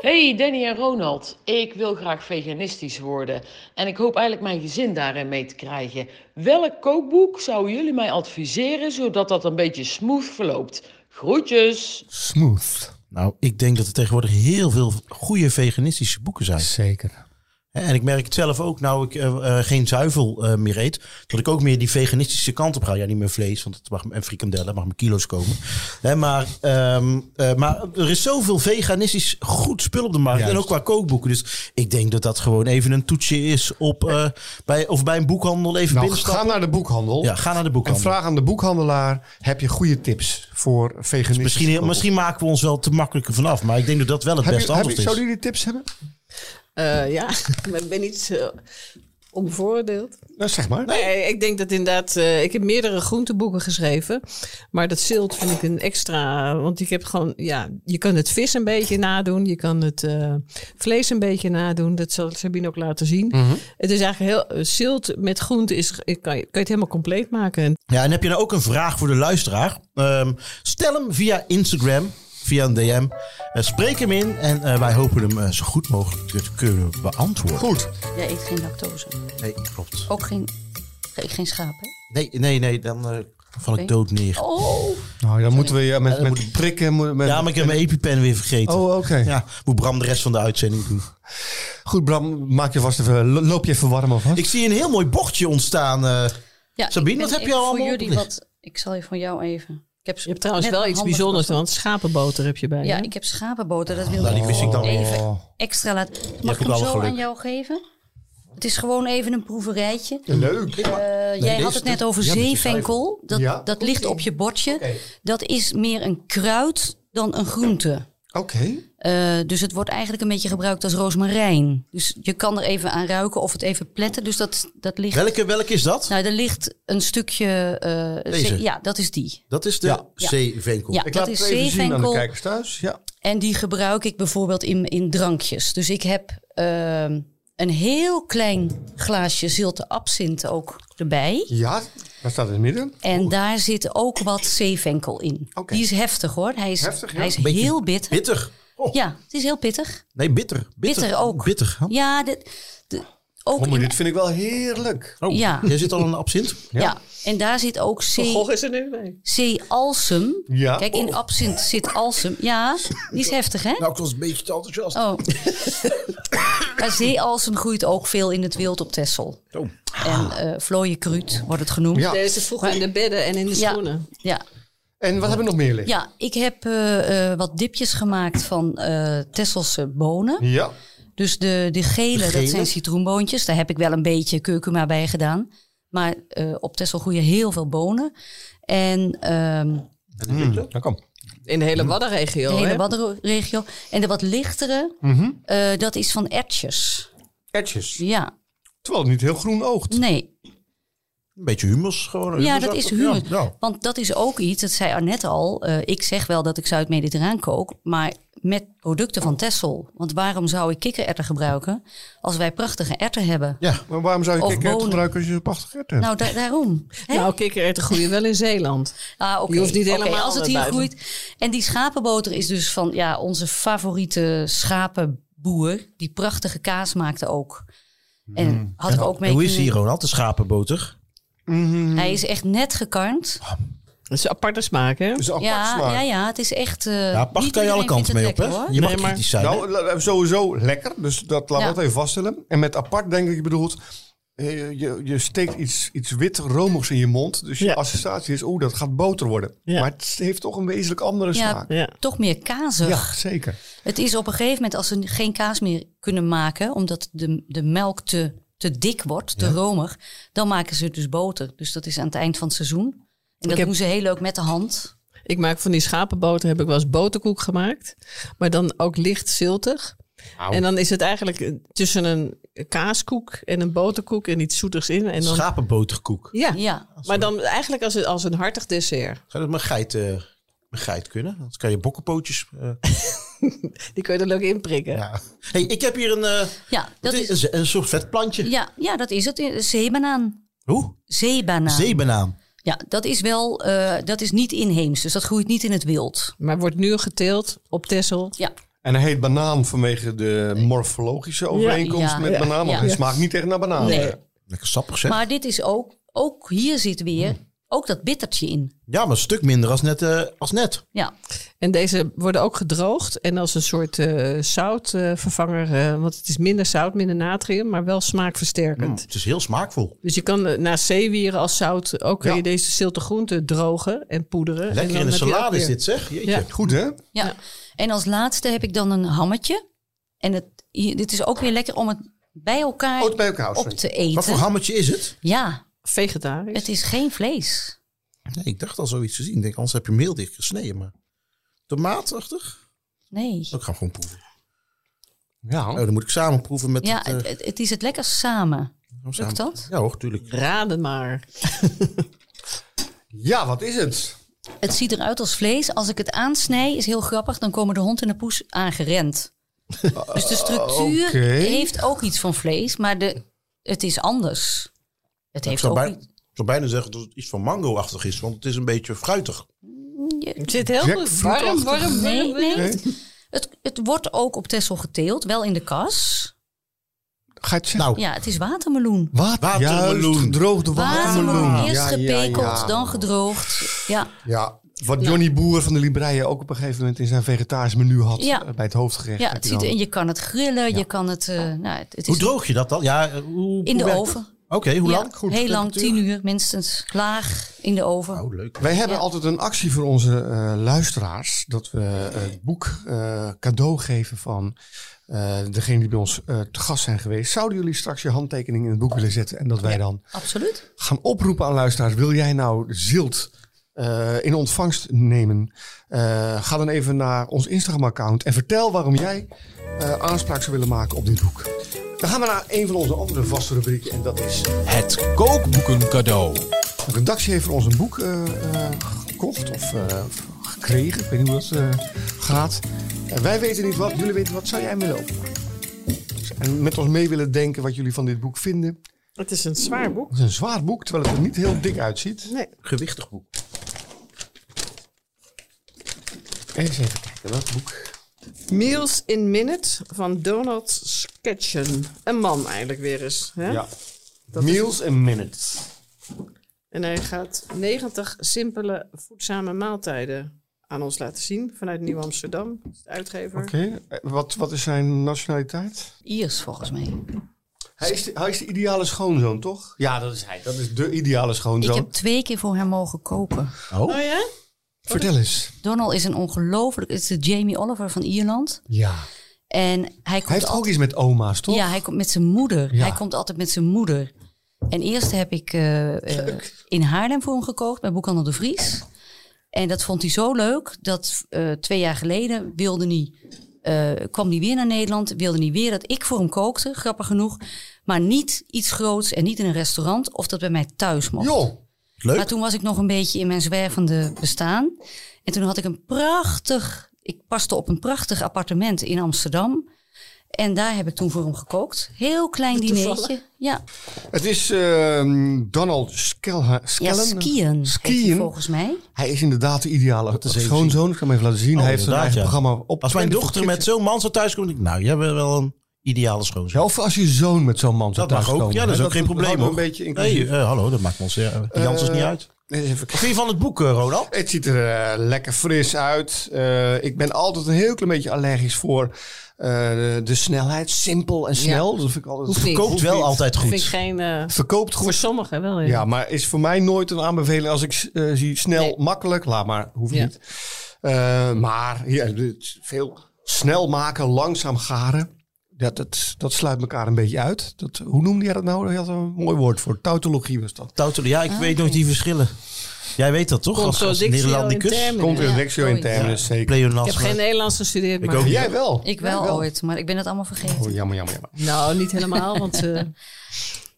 S6: Hey Danny en Ronald, ik wil graag veganistisch worden en ik hoop eigenlijk mijn gezin daarin mee te krijgen. Welk kookboek zouden jullie mij adviseren zodat dat een beetje smooth verloopt? Groetjes!
S2: Smooth.
S3: Nou, ik denk dat er tegenwoordig heel veel goede veganistische boeken zijn.
S2: Zeker.
S3: En ik merk het zelf ook, nou ik eh, eh, geen zuivel eh, meer eet, dat ik ook meer die veganistische kant op ga. Ja, niet meer vlees, want het mag, en frikandellen, mag mijn kilo's komen. Hè, maar, ehm, eh, maar er is zoveel veganistisch goed spul op de markt. En ook qua kookboeken. Dus ik denk dat dat gewoon even een toetsje is op, eh, bij, of bij een boekhandel even
S2: Nou, ga
S3: binnenstappen.
S2: naar de boekhandel.
S3: Ja, ga naar de
S2: En
S3: boekhandel.
S2: vraag aan de boekhandelaar: heb je goede tips voor veganistische
S3: Misschien, heel-
S2: koken?
S3: misschien maken we ons wel te makkelijk er vanaf, maar ik denk dat dat wel het
S2: Heb je-
S3: beste
S2: heb
S3: antwoord
S2: je-
S3: is.
S2: Zouden jullie tips hebben?
S5: Eh, ja, maar ik ben niet eh, onbevoordeeld.
S2: Nou, zeg maar.
S5: Nee, ik denk dat inderdaad. eh, ik heb meerdere groenteboeken geschreven. Maar dat zilt vind ik een extra. Want ik heb gewoon. Ja, je kan het vis een beetje nadoen. Je kan het eh, vlees een beetje nadoen. Dat zal Sabine ook laten zien. Het is eigenlijk heel. eh, zilt met groente is, kan, je, kan je het helemaal compleet maken. En
S3: Ja, en heb je nou ook een vraag voor de luisteraar? Ehm, stel hem via Instagram, via een DM. Eh, spreek hem in en eh, wij hopen hem eh, zo goed mogelijk te kunnen beantwoorden.
S2: Goed.
S1: Jij eet geen lactose.
S3: Nee, klopt.
S1: Ook geen. Ik eet geen schaap, hè?
S3: Nee, nee, nee, dan eh, val ik
S1: Oké.
S3: dood neer.
S1: Oh!
S2: Nou, dan moeten we je met,
S3: dan
S2: met prikken. moet- Met,
S3: Ja, maar ik heb mijn EpiPen weer vergeten.
S2: Oh, oké.
S3: Ja, moet Bram de rest van de uitzending doen.
S2: Goed, Bram, maak je vast even, lo- loop je even warm of wat?
S3: Ik zie een heel mooi bochtje ontstaan. eh.
S1: Ja, ik
S3: Sabine,
S1: ben
S3: wat heb je
S1: even
S3: allemaal
S1: voor jullie
S3: opgelicht?
S1: wat. Ik zal je van jou even. Ik heb
S5: je hebt trouwens
S1: net
S5: wel
S1: mijn
S5: iets
S1: handen
S5: bijzonders,
S1: gewassen.
S5: want schapenboter heb je bij.
S1: Ja,
S5: hè?
S1: ik heb schapenboter. Dat wil
S3: nou, die
S1: ik
S3: wist ik dan
S1: even
S2: Oh.
S1: extra laten.
S3: hebt
S1: Mag ik hem
S3: ook
S1: zo
S3: alle geluk.
S1: aan jou geven? Het is gewoon even een proeverijtje.
S2: Leuk.
S1: Eh, jij had
S3: deze
S1: het net
S3: toch?
S1: over
S3: Ja, met die
S1: zeevenkel. Dat,
S2: Ja.
S1: dat ligt op je bordje.
S2: Oké.
S1: Dat is meer een kruid dan een groente.
S2: Oké.
S1: Eh, dus het wordt eigenlijk een beetje gebruikt als rozemarijn. Dus je kan er even aan ruiken of het even pletten. Dus dat, dat ligt.
S3: Welke, welke is dat?
S1: Nou, er ligt een stukje. eh,
S3: Deze?
S1: zee- Ja, dat is die.
S3: Dat is de
S2: Ja.
S3: zeevenkel.
S1: Ja.
S2: Ik
S1: Dat
S2: laat
S1: is
S2: het even zien aan de
S1: zeevenkel.
S2: kijkers thuis. Ja.
S1: En die gebruik ik bijvoorbeeld in, in drankjes. Dus ik heb ehm, een heel klein glaasje zilte absinthe ook erbij.
S2: Ja, daar staat in het midden.
S1: En daar zit ook wat zeevenkel in.
S2: Oké.
S1: Die is heftig hoor. Hij is,
S2: Heftig, ja.
S1: hij is
S3: Beetje
S1: heel bitter.
S3: Bitter. Oh,
S1: Ja, het is heel pittig.
S3: Nee, bitter. bitter.
S1: Bitter ook.
S3: Bitter.
S1: Ja, de, de- ook
S2: Oh,
S1: in-
S2: maar dit vind ik wel heerlijk.
S3: Oh,
S1: Ja.
S3: jij zit al in een absint?
S1: ja. en daar zit ook C,
S5: Van Gogh is er nu mee.
S1: C alsem.
S2: Ja.
S1: Kijk, in absint zit alsem. Ja, die is heftig, hè?
S3: Nou, ik was een beetje te enthousiast.
S1: Oh. maar zeealsem groeit ook veel in het wild op Texel.
S3: Oh.
S1: En eh vlooien kruut wordt het genoemd.
S2: Ja.
S5: Deze vroeger in de bedden en in de
S1: ja,
S5: schoenen.
S1: ja,
S2: En wat hebben we nog meer liggen?
S1: ja, ik heb eh, eh, wat dipjes gemaakt van eh Tesselse bonen.
S2: Ja.
S1: Dus de, de, gele,
S3: De gele?
S1: dat zijn citroenboontjes. Daar heb ik wel een beetje curcuma bij gedaan. Maar eh, op Texel groeien heel veel bonen. En ehm,
S2: Mm,
S3: Hmm.
S2: dat kan.
S5: In de hele Waddenregio.
S1: de hele
S5: hè?
S1: Waddenregio. En de wat lichtere, eh, dat is van ertjes.
S2: Ertjes.
S1: Ja,
S2: Terwijl het niet heel groen oogt.
S1: nee.
S3: oh, Een beetje humus gewoon.
S1: Ja, dat
S3: humusachtig.
S1: is humus.
S3: Ja, nou.
S1: Want dat is ook iets, dat zei Arnett al. eh, ik zeg wel dat ik Zuid-Mediterraan kook, maar met producten van Texel. Want waarom zou ik kikkererwten gebruiken als wij prachtige erwten hebben?
S3: ja.
S2: Maar waarom zou je
S1: Of
S2: kikkererwt
S1: bonen.
S2: gebruiken als je een prachtig gert hebt?
S1: Nou, da- daarom. Hè?
S5: Nou, kikkererwten groeien wel in Zeeland.
S1: ah, oké.
S5: je hoeft niet
S1: Oké,
S5: helemaal
S1: als het
S5: naar
S1: hier
S5: buiten.
S1: groeit. En die schapenboter is dus van ja, onze favoriete schapenboer, die prachtige kaas maakte ook. En had ik ook mee.
S3: Hoe is
S1: kunnen- Eh,
S3: hier, Ronald? De schapenboter. Mm.
S1: Hij is echt net gekarnd.
S3: Oh,
S5: Dat is een aparte smaak, hè?
S2: Dus apart
S1: ja,
S2: smaak.
S1: ja, ja, het is echt. eh,
S3: Ja, pacht
S1: niet
S3: kan je alle
S1: iedereen
S3: kanten mee
S1: vindt
S3: op,
S1: het
S3: hè?
S1: lekker, hoor.
S3: Je mag
S5: Nee, maar-
S3: kritisch zijn. hè?
S2: Nou, la- sowieso lekker. Dus dat laten we
S1: Ja.
S2: dat even vaststellen. En met apart denk ik, je bedoelt... eh, Je, je steekt iets, iets wit romigs in je mond. Dus je
S5: Ja.
S2: associatie is, oeh, dat gaat boter worden.
S5: Ja.
S2: Maar het heeft toch een wezenlijk andere
S1: Ja.
S2: smaak.
S5: Ja.
S1: Toch meer kazig.
S2: Ja, zeker.
S1: Het is op een gegeven moment als ze geen kaas meer kunnen maken, omdat de, de melk te, te dik wordt, te romig, dan maken ze dus boter. Dus dat is aan het eind van het seizoen. En dat
S5: heb-
S1: doen ze heel leuk met de hand.
S5: Ik maak van die schapenboter, heb ik wel eens boterkoek gemaakt. Maar dan ook licht ziltig. En dan is het eigenlijk eh, tussen een kaaskoek en een boterkoek en iets zoetigs in. En dan,
S3: Schapenboterkoek.
S5: ja.
S1: Ja,
S5: maar dan eigenlijk als, een- als een hartig dessert.
S3: Zou dat met geit, eh, met geit kunnen? Dan kan je bokkenpootjes... eh,
S5: Die kun je er leuk in prikken.
S3: ja. hey, ik heb hier een, eh,
S1: ja, dat
S3: wat is,
S1: is,
S3: een, een soort vetplantje.
S1: ja, ja, dat is het. Zeebanaan.
S3: Hoe?
S1: Zeebanaan.
S3: Zeebanaan.
S1: ja, dat is wel, eh, dat is niet inheems. Dus dat groeit niet in het wild.
S5: Maar wordt nu geteeld op Tessel.
S1: Ja,
S2: En hij heet banaan vanwege de morfologische overeenkomst
S1: ja,
S2: met
S1: ja,
S2: banaan. Want
S1: ja.
S2: hij smaakt niet echt naar banaan.
S1: Nee.
S3: Lekker sappig zeg.
S1: maar dit is ook, ook hier zit weer,
S3: Hmm.
S1: ook dat bittertje in.
S3: Ja, maar een stuk minder als net. eh, als net.
S1: Ja,
S5: En deze worden ook gedroogd en als een soort eh, zoutvervanger. eh, want het is minder zout, minder natrium, maar wel smaakversterkend.
S3: Het is heel smaakvol.
S5: Dus je kan eh, naast zeewieren als zout ook kun
S2: Ja.
S5: je deze zilte groenten drogen en poederen. En
S3: Lekker
S5: dan
S3: in de
S5: heb je ook
S3: salade is
S5: weer-
S3: dit zeg. Jeetje.
S5: Ja.
S2: Goed hè?
S1: Ja. En als laatste heb ik dan een hammetje. En het, hier- dit is ook weer lekker om het bij elkaar
S2: Oh, het bij elkaar,
S1: op
S2: sorry.
S1: te
S3: Wat voor
S1: eten.
S3: hammetje is het?
S1: Ja,
S5: Vegetarisch.
S1: het is geen vlees.
S3: Nee, ik dacht al zoiets te zien. Ik denk, anders heb je hem heel dicht gesneden. Maar tomaatachtig?
S1: Nee.
S3: Ik ga gewoon proeven.
S2: Ja.
S3: Oh,
S2: Eh,
S3: dan moet ik samen proeven met
S1: Ja,
S3: het... eh,
S1: het, het- het is het lekker samen.
S3: oh, samen.
S1: Lukt dat?
S3: Ja hoor, tuurlijk.
S5: Raden maar.
S2: ja, wat is het?
S1: Het ziet eruit als vlees. Als ik het aansnij, is heel grappig. Dan komen de hond en de poes aangerend. Dus de structuur
S2: Oké.
S1: heeft ook iets van vlees, maar de, het is anders. Het
S3: Ik
S1: heeft
S3: zou,
S1: ook
S3: bijna,
S1: iets.
S3: ik zou bijna zeggen dat het iets van mango-achtig is. Want het is een beetje fruitig.
S5: Het zit heel goed. Warm, warm,
S2: Jackfruitachtig.
S5: warm.
S1: Nee, nee.
S2: Nee.
S1: Het, het wordt ook op Texel geteeld, wel in de kas.
S2: Ga je het zeggen?
S3: Nou,
S1: Ja, het is watermeloen.
S2: Wat?
S3: Watermeloen.
S2: Juist, gedroogde watermeloen.
S1: Watermeloen. Eerst
S2: Ja, ja, ja.
S1: gepekeld, dan gedroogd. Ja,
S2: Ja, wat Johnny Boer van de Libreien ook op een gegeven moment in zijn vegetarisch menu had
S1: Ja.
S2: eh, bij het hoofdgerecht.
S1: ja
S2: Heb
S1: het
S2: je
S1: ziet,
S2: dan-
S1: en je kan het grillen, je kan het... eh, nou, het, het
S3: hoe
S1: is
S3: droog je dat dan? Ja, eh, hoe,
S1: in de
S3: hoe werkt
S1: oven.
S3: dat? Oké, hoe
S1: Ja,
S3: lang? Goed,
S1: heel lang,
S3: temperatuur?
S1: tien uur minstens. Laag in de oven.
S3: Oh, leuk.
S2: Wij hebben
S1: Ja.
S2: altijd een actie voor onze eh, luisteraars. Dat we eh, het boek eh, cadeau geven van eh, degene die bij ons eh, te gast zijn geweest. Zouden jullie straks je handtekening in het boek willen zetten? En dat wij dan
S1: Absoluut.
S2: gaan oproepen aan luisteraars. Wil jij nou zilt eh, in ontvangst nemen? Eh, ga dan even naar ons Instagram-account en vertel waarom jij eh, aanspraak zou willen maken op dit boek. Dan gaan we naar een van onze andere vaste rubrieken en dat is...
S4: Het kookboeken cadeau.
S2: De redactie heeft voor ons een boek eh, eh, gekocht of eh, gekregen. Ik weet niet hoe dat eh, gaat. En wij weten niet wat, jullie weten wat. Zou jij hem willen openen? En met ons mee willen denken wat jullie van dit boek vinden.
S5: Het is een zwaar boek.
S2: Het is een zwaar boek, terwijl het er niet heel dik uitziet.
S5: Nee.
S3: Gewichtig boek.
S2: Eens even kijken, welk boek?
S5: Meals in Minute van Donald Sketchen. Een man eigenlijk weer eens. Hè?
S2: Ja. Meals in minutes.
S5: En hij gaat 90 simpele voedzame maaltijden aan ons laten zien. Vanuit Nieuw Amsterdam, de uitgever.
S2: Oké. Eh, Wat, wat is zijn nationaliteit?
S1: Iers volgens mij.
S2: Hij is, de, hij is de ideale schoonzoon, toch? Ja, dat is hij. Dat is de ideale
S1: Ik
S2: schoonzoon.
S1: heb twee keer voor hem mogen koken.
S5: Oh ja?
S2: Vertel eens.
S1: Donald is een ongelooflijk... Het is de Jamie Oliver van Ierland.
S2: Ja.
S1: En hij komt
S2: Hij heeft
S1: altijd-
S2: ook iets met oma's, toch?
S1: Ja, hij komt met zijn moeder.
S2: Ja.
S1: Hij komt altijd met zijn moeder. En eerst heb ik eh, eh, in Haarlem voor hem gekookt bij Boekhandel de Vries. En dat vond hij zo leuk dat eh, twee jaar geleden wilde hij, eh, kwam hij weer naar Nederland. Wilde hij weer dat ik voor hem kookte, grappig genoeg. Maar niet iets groots en niet in een restaurant of dat bij mij thuis mocht.
S2: Joh.
S3: Leuk.
S1: Maar toen was ik nog een beetje in mijn zwervende bestaan. En toen had ik een prachtig... Ik paste op een prachtig appartement in Amsterdam. En daar heb ik toen voor hem gekookt. Heel klein dinertje. Ja,
S2: Het is ehm, Donald Skelha,
S1: ja
S2: Skellen.
S1: skiën. Skiën.
S2: Skiën.
S1: volgens mij.
S2: Hij is inderdaad de ideale
S3: is even
S2: schoonzoon. Ik ga hem even laten zien.
S3: Oh,
S2: hij heeft een eigen
S3: inderdaad, ja.
S2: programma op.
S3: Als mijn
S2: Televisie.
S3: dochter met zo'n man zou thuiskomen, denk ik, nou, jij bent wel een ideale schoonzoon.
S2: Ja, of als je zoon met zo'n man zou
S3: dat mag
S2: thuiskomen.
S3: ook. Ja, dat is
S2: Hè,
S3: ook geen probleem.
S2: houden we
S3: hoor.
S2: een beetje
S3: Nee,
S2: inclusief.
S3: eh, hallo, dat maakt ons eh, die Jans is
S2: Eh,
S3: niet uit.
S2: Eens even kijken.
S3: Wat vind je van het boek, eh, Ronald?
S2: Het ziet er eh, lekker fris uit. Eh, ik ben altijd een heel klein beetje allergisch voor eh, de, de snelheid. Simpel en snel. Dat vind ik altijd...
S5: Hoeft niet.
S2: Verkoopt-
S3: Kookt wel
S5: niet.
S3: altijd
S5: Vind ik
S3: goed.
S5: geen... eh,
S2: Verkoopt
S5: voor
S2: goed.
S5: sommigen wel, ja.
S2: Ja, maar is voor mij nooit een aanbeveling als ik eh, zie snel,
S5: Nee.
S2: makkelijk. Laat maar, hoeft
S5: Ja.
S2: niet. Eh, maar ja, het is veel snel maken, langzaam garen. Dat, dat, dat sluit elkaar een beetje uit. Dat, hoe noemde jij dat nou? Hij had een mooi woord voor. Tautologie was dat.
S3: Tautolo- ja,
S1: Ah.
S3: ik weet nog die verschillen. Jij weet dat toch? Als, als
S5: Contradictio in
S3: Nederlandicus.
S5: termine.
S2: Komt in
S1: Ja,
S2: Rexio in
S1: zoiets.
S2: terminus, zeker.
S5: Ik heb
S3: Pleonasme.
S5: geen Nederlands gestudeerd,
S3: Ik
S5: maar...
S3: ook.
S2: Jij wel.
S1: Ik wel,
S2: wel.
S1: ooit, maar ik ben het allemaal vergeten.
S2: Oh, jammer, jammer, jammer.
S5: Nou, niet helemaal, want... eh,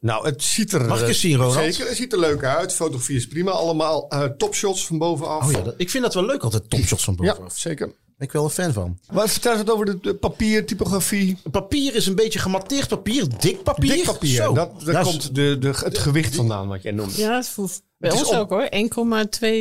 S2: Nou, het ziet er...
S3: Mag ik eens zien, Ronald?
S2: Zeker, het ziet er leuk uit. Fotografie is prima allemaal. Eh, topshots van bovenaf.
S3: Oh ja, dat- ik vind dat wel leuk altijd, topshots van
S2: Ja,
S3: bovenaf.
S2: zeker.
S3: Ben ik wel een fan van.
S2: Wat vertel eens wat over de, de papiertypografie?
S3: Papier is een beetje gematteerd papier, dik papier.
S2: Dik papier.
S3: Zo.
S2: Dat, daar
S3: Ja,
S2: komt de, de, het gewicht vandaan, wat jij noemt. Ja.
S5: ja, het voelt bij
S2: Het is
S5: ons
S2: op-
S5: ook, hoor.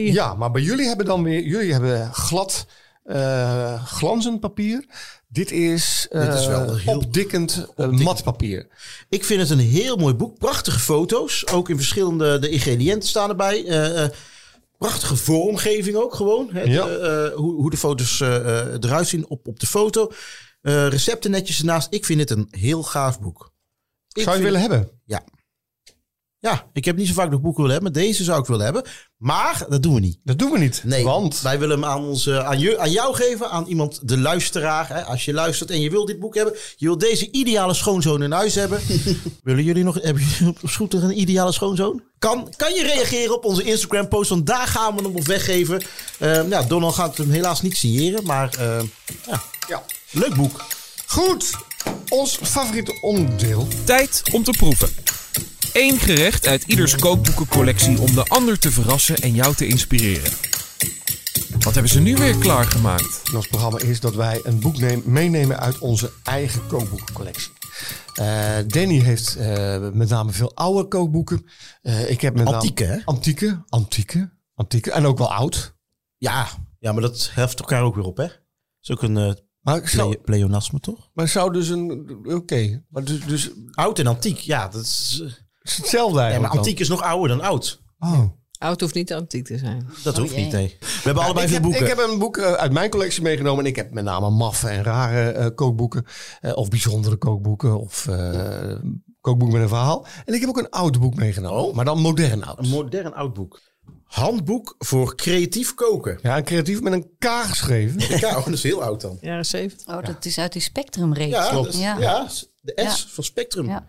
S5: 1,2...
S2: maar bij jullie hebben dan weer... Jullie hebben glad, eh, glanzend papier. Dit is, eh
S3: Dit is wel heel-
S2: opdikkend eh, mat papier.
S3: Ik vind het een heel mooi boek. Prachtige foto's. Ook in verschillende de ingrediënten staan erbij. Eh, eh, prachtige vormgeving ook gewoon. Hè,
S2: Ja.
S3: De, eh, hoe, hoe de foto's eh, eh, eruit zien op, op de foto. Eh, recepten netjes ernaast. Ik vind het een heel gaaf boek. Ik
S2: Zou je
S3: vind-
S2: willen hebben?
S3: Ja, ik heb niet zo vaak nog boeken willen hebben. Maar deze zou ik willen hebben. Maar dat doen we niet.
S2: Dat doen we niet.
S3: Nee,
S2: Want...
S3: wij willen hem aan, ons, eh, aan, je, aan jou geven, aan iemand, de luisteraar. Hè. Als je luistert en je wil dit boek hebben, je wil deze ideale schoonzoon in huis hebben. willen jullie nog, hebben jullie op scooter een ideale schoonzoon? Kan, kan je reageren op onze Instagram post, want daar gaan we hem op weggeven. Eh, nou, Donald gaat hem helaas niet signeren, maar eh, ja,
S2: Ja.
S3: leuk boek.
S2: Goed. Ons favoriete onderdeel.
S4: Tijd om te proeven. Eén gerecht uit ieders kookboekencollectie om de ander te verrassen en jou te inspireren. Wat hebben ze nu weer klaargemaakt?
S2: En ons programma is dat wij een boek neem- meenemen uit onze eigen kookboekencollectie. Eh, Danny heeft eh, met name veel oude kookboeken. Eh, ik heb met name-
S3: Antieke, hè?
S2: Antieke, antieke, antieke. En ook wel oud.
S3: Ja, ja, maar dat heft elkaar ook weer op, hè? is ook een eh,
S2: Maar ik zou,
S3: ple- pleonasme, toch?
S2: maar zou dus een... Oké. Maar dus, dus het
S3: Oud en antiek, ja. Dat is, eh,
S2: is hetzelfde
S3: ja, maar
S2: eigenlijk
S3: antiek is nog ouder dan oud.
S2: dan. Oh.
S5: Oud hoeft niet antiek te zijn.
S3: Dat hoeft
S1: jee.
S3: niet, nee. We hebben allebei
S2: ik,
S3: veel
S2: heb,
S3: boeken.
S2: ik heb een boek eh, uit mijn collectie meegenomen. En ik heb met name maffe en rare eh, kookboeken. eh, of bijzondere kookboeken. Of eh kookboeken met een verhaal. En ik heb ook een oud boek meegenomen. Maar dan modern oud.
S3: Oh. Een modern oud boek. Handboek voor creatief koken.
S2: Ja, een creatief met een K geschreven.
S3: Ja, oh, dat is heel oud dan.
S5: Jaren 70.
S1: Oh, dat is uit die Spectrum-reeks.
S3: Ja,
S2: Klopt.
S3: dat is-
S1: Ja.
S3: ja. de S van Spectrum.
S1: Ja.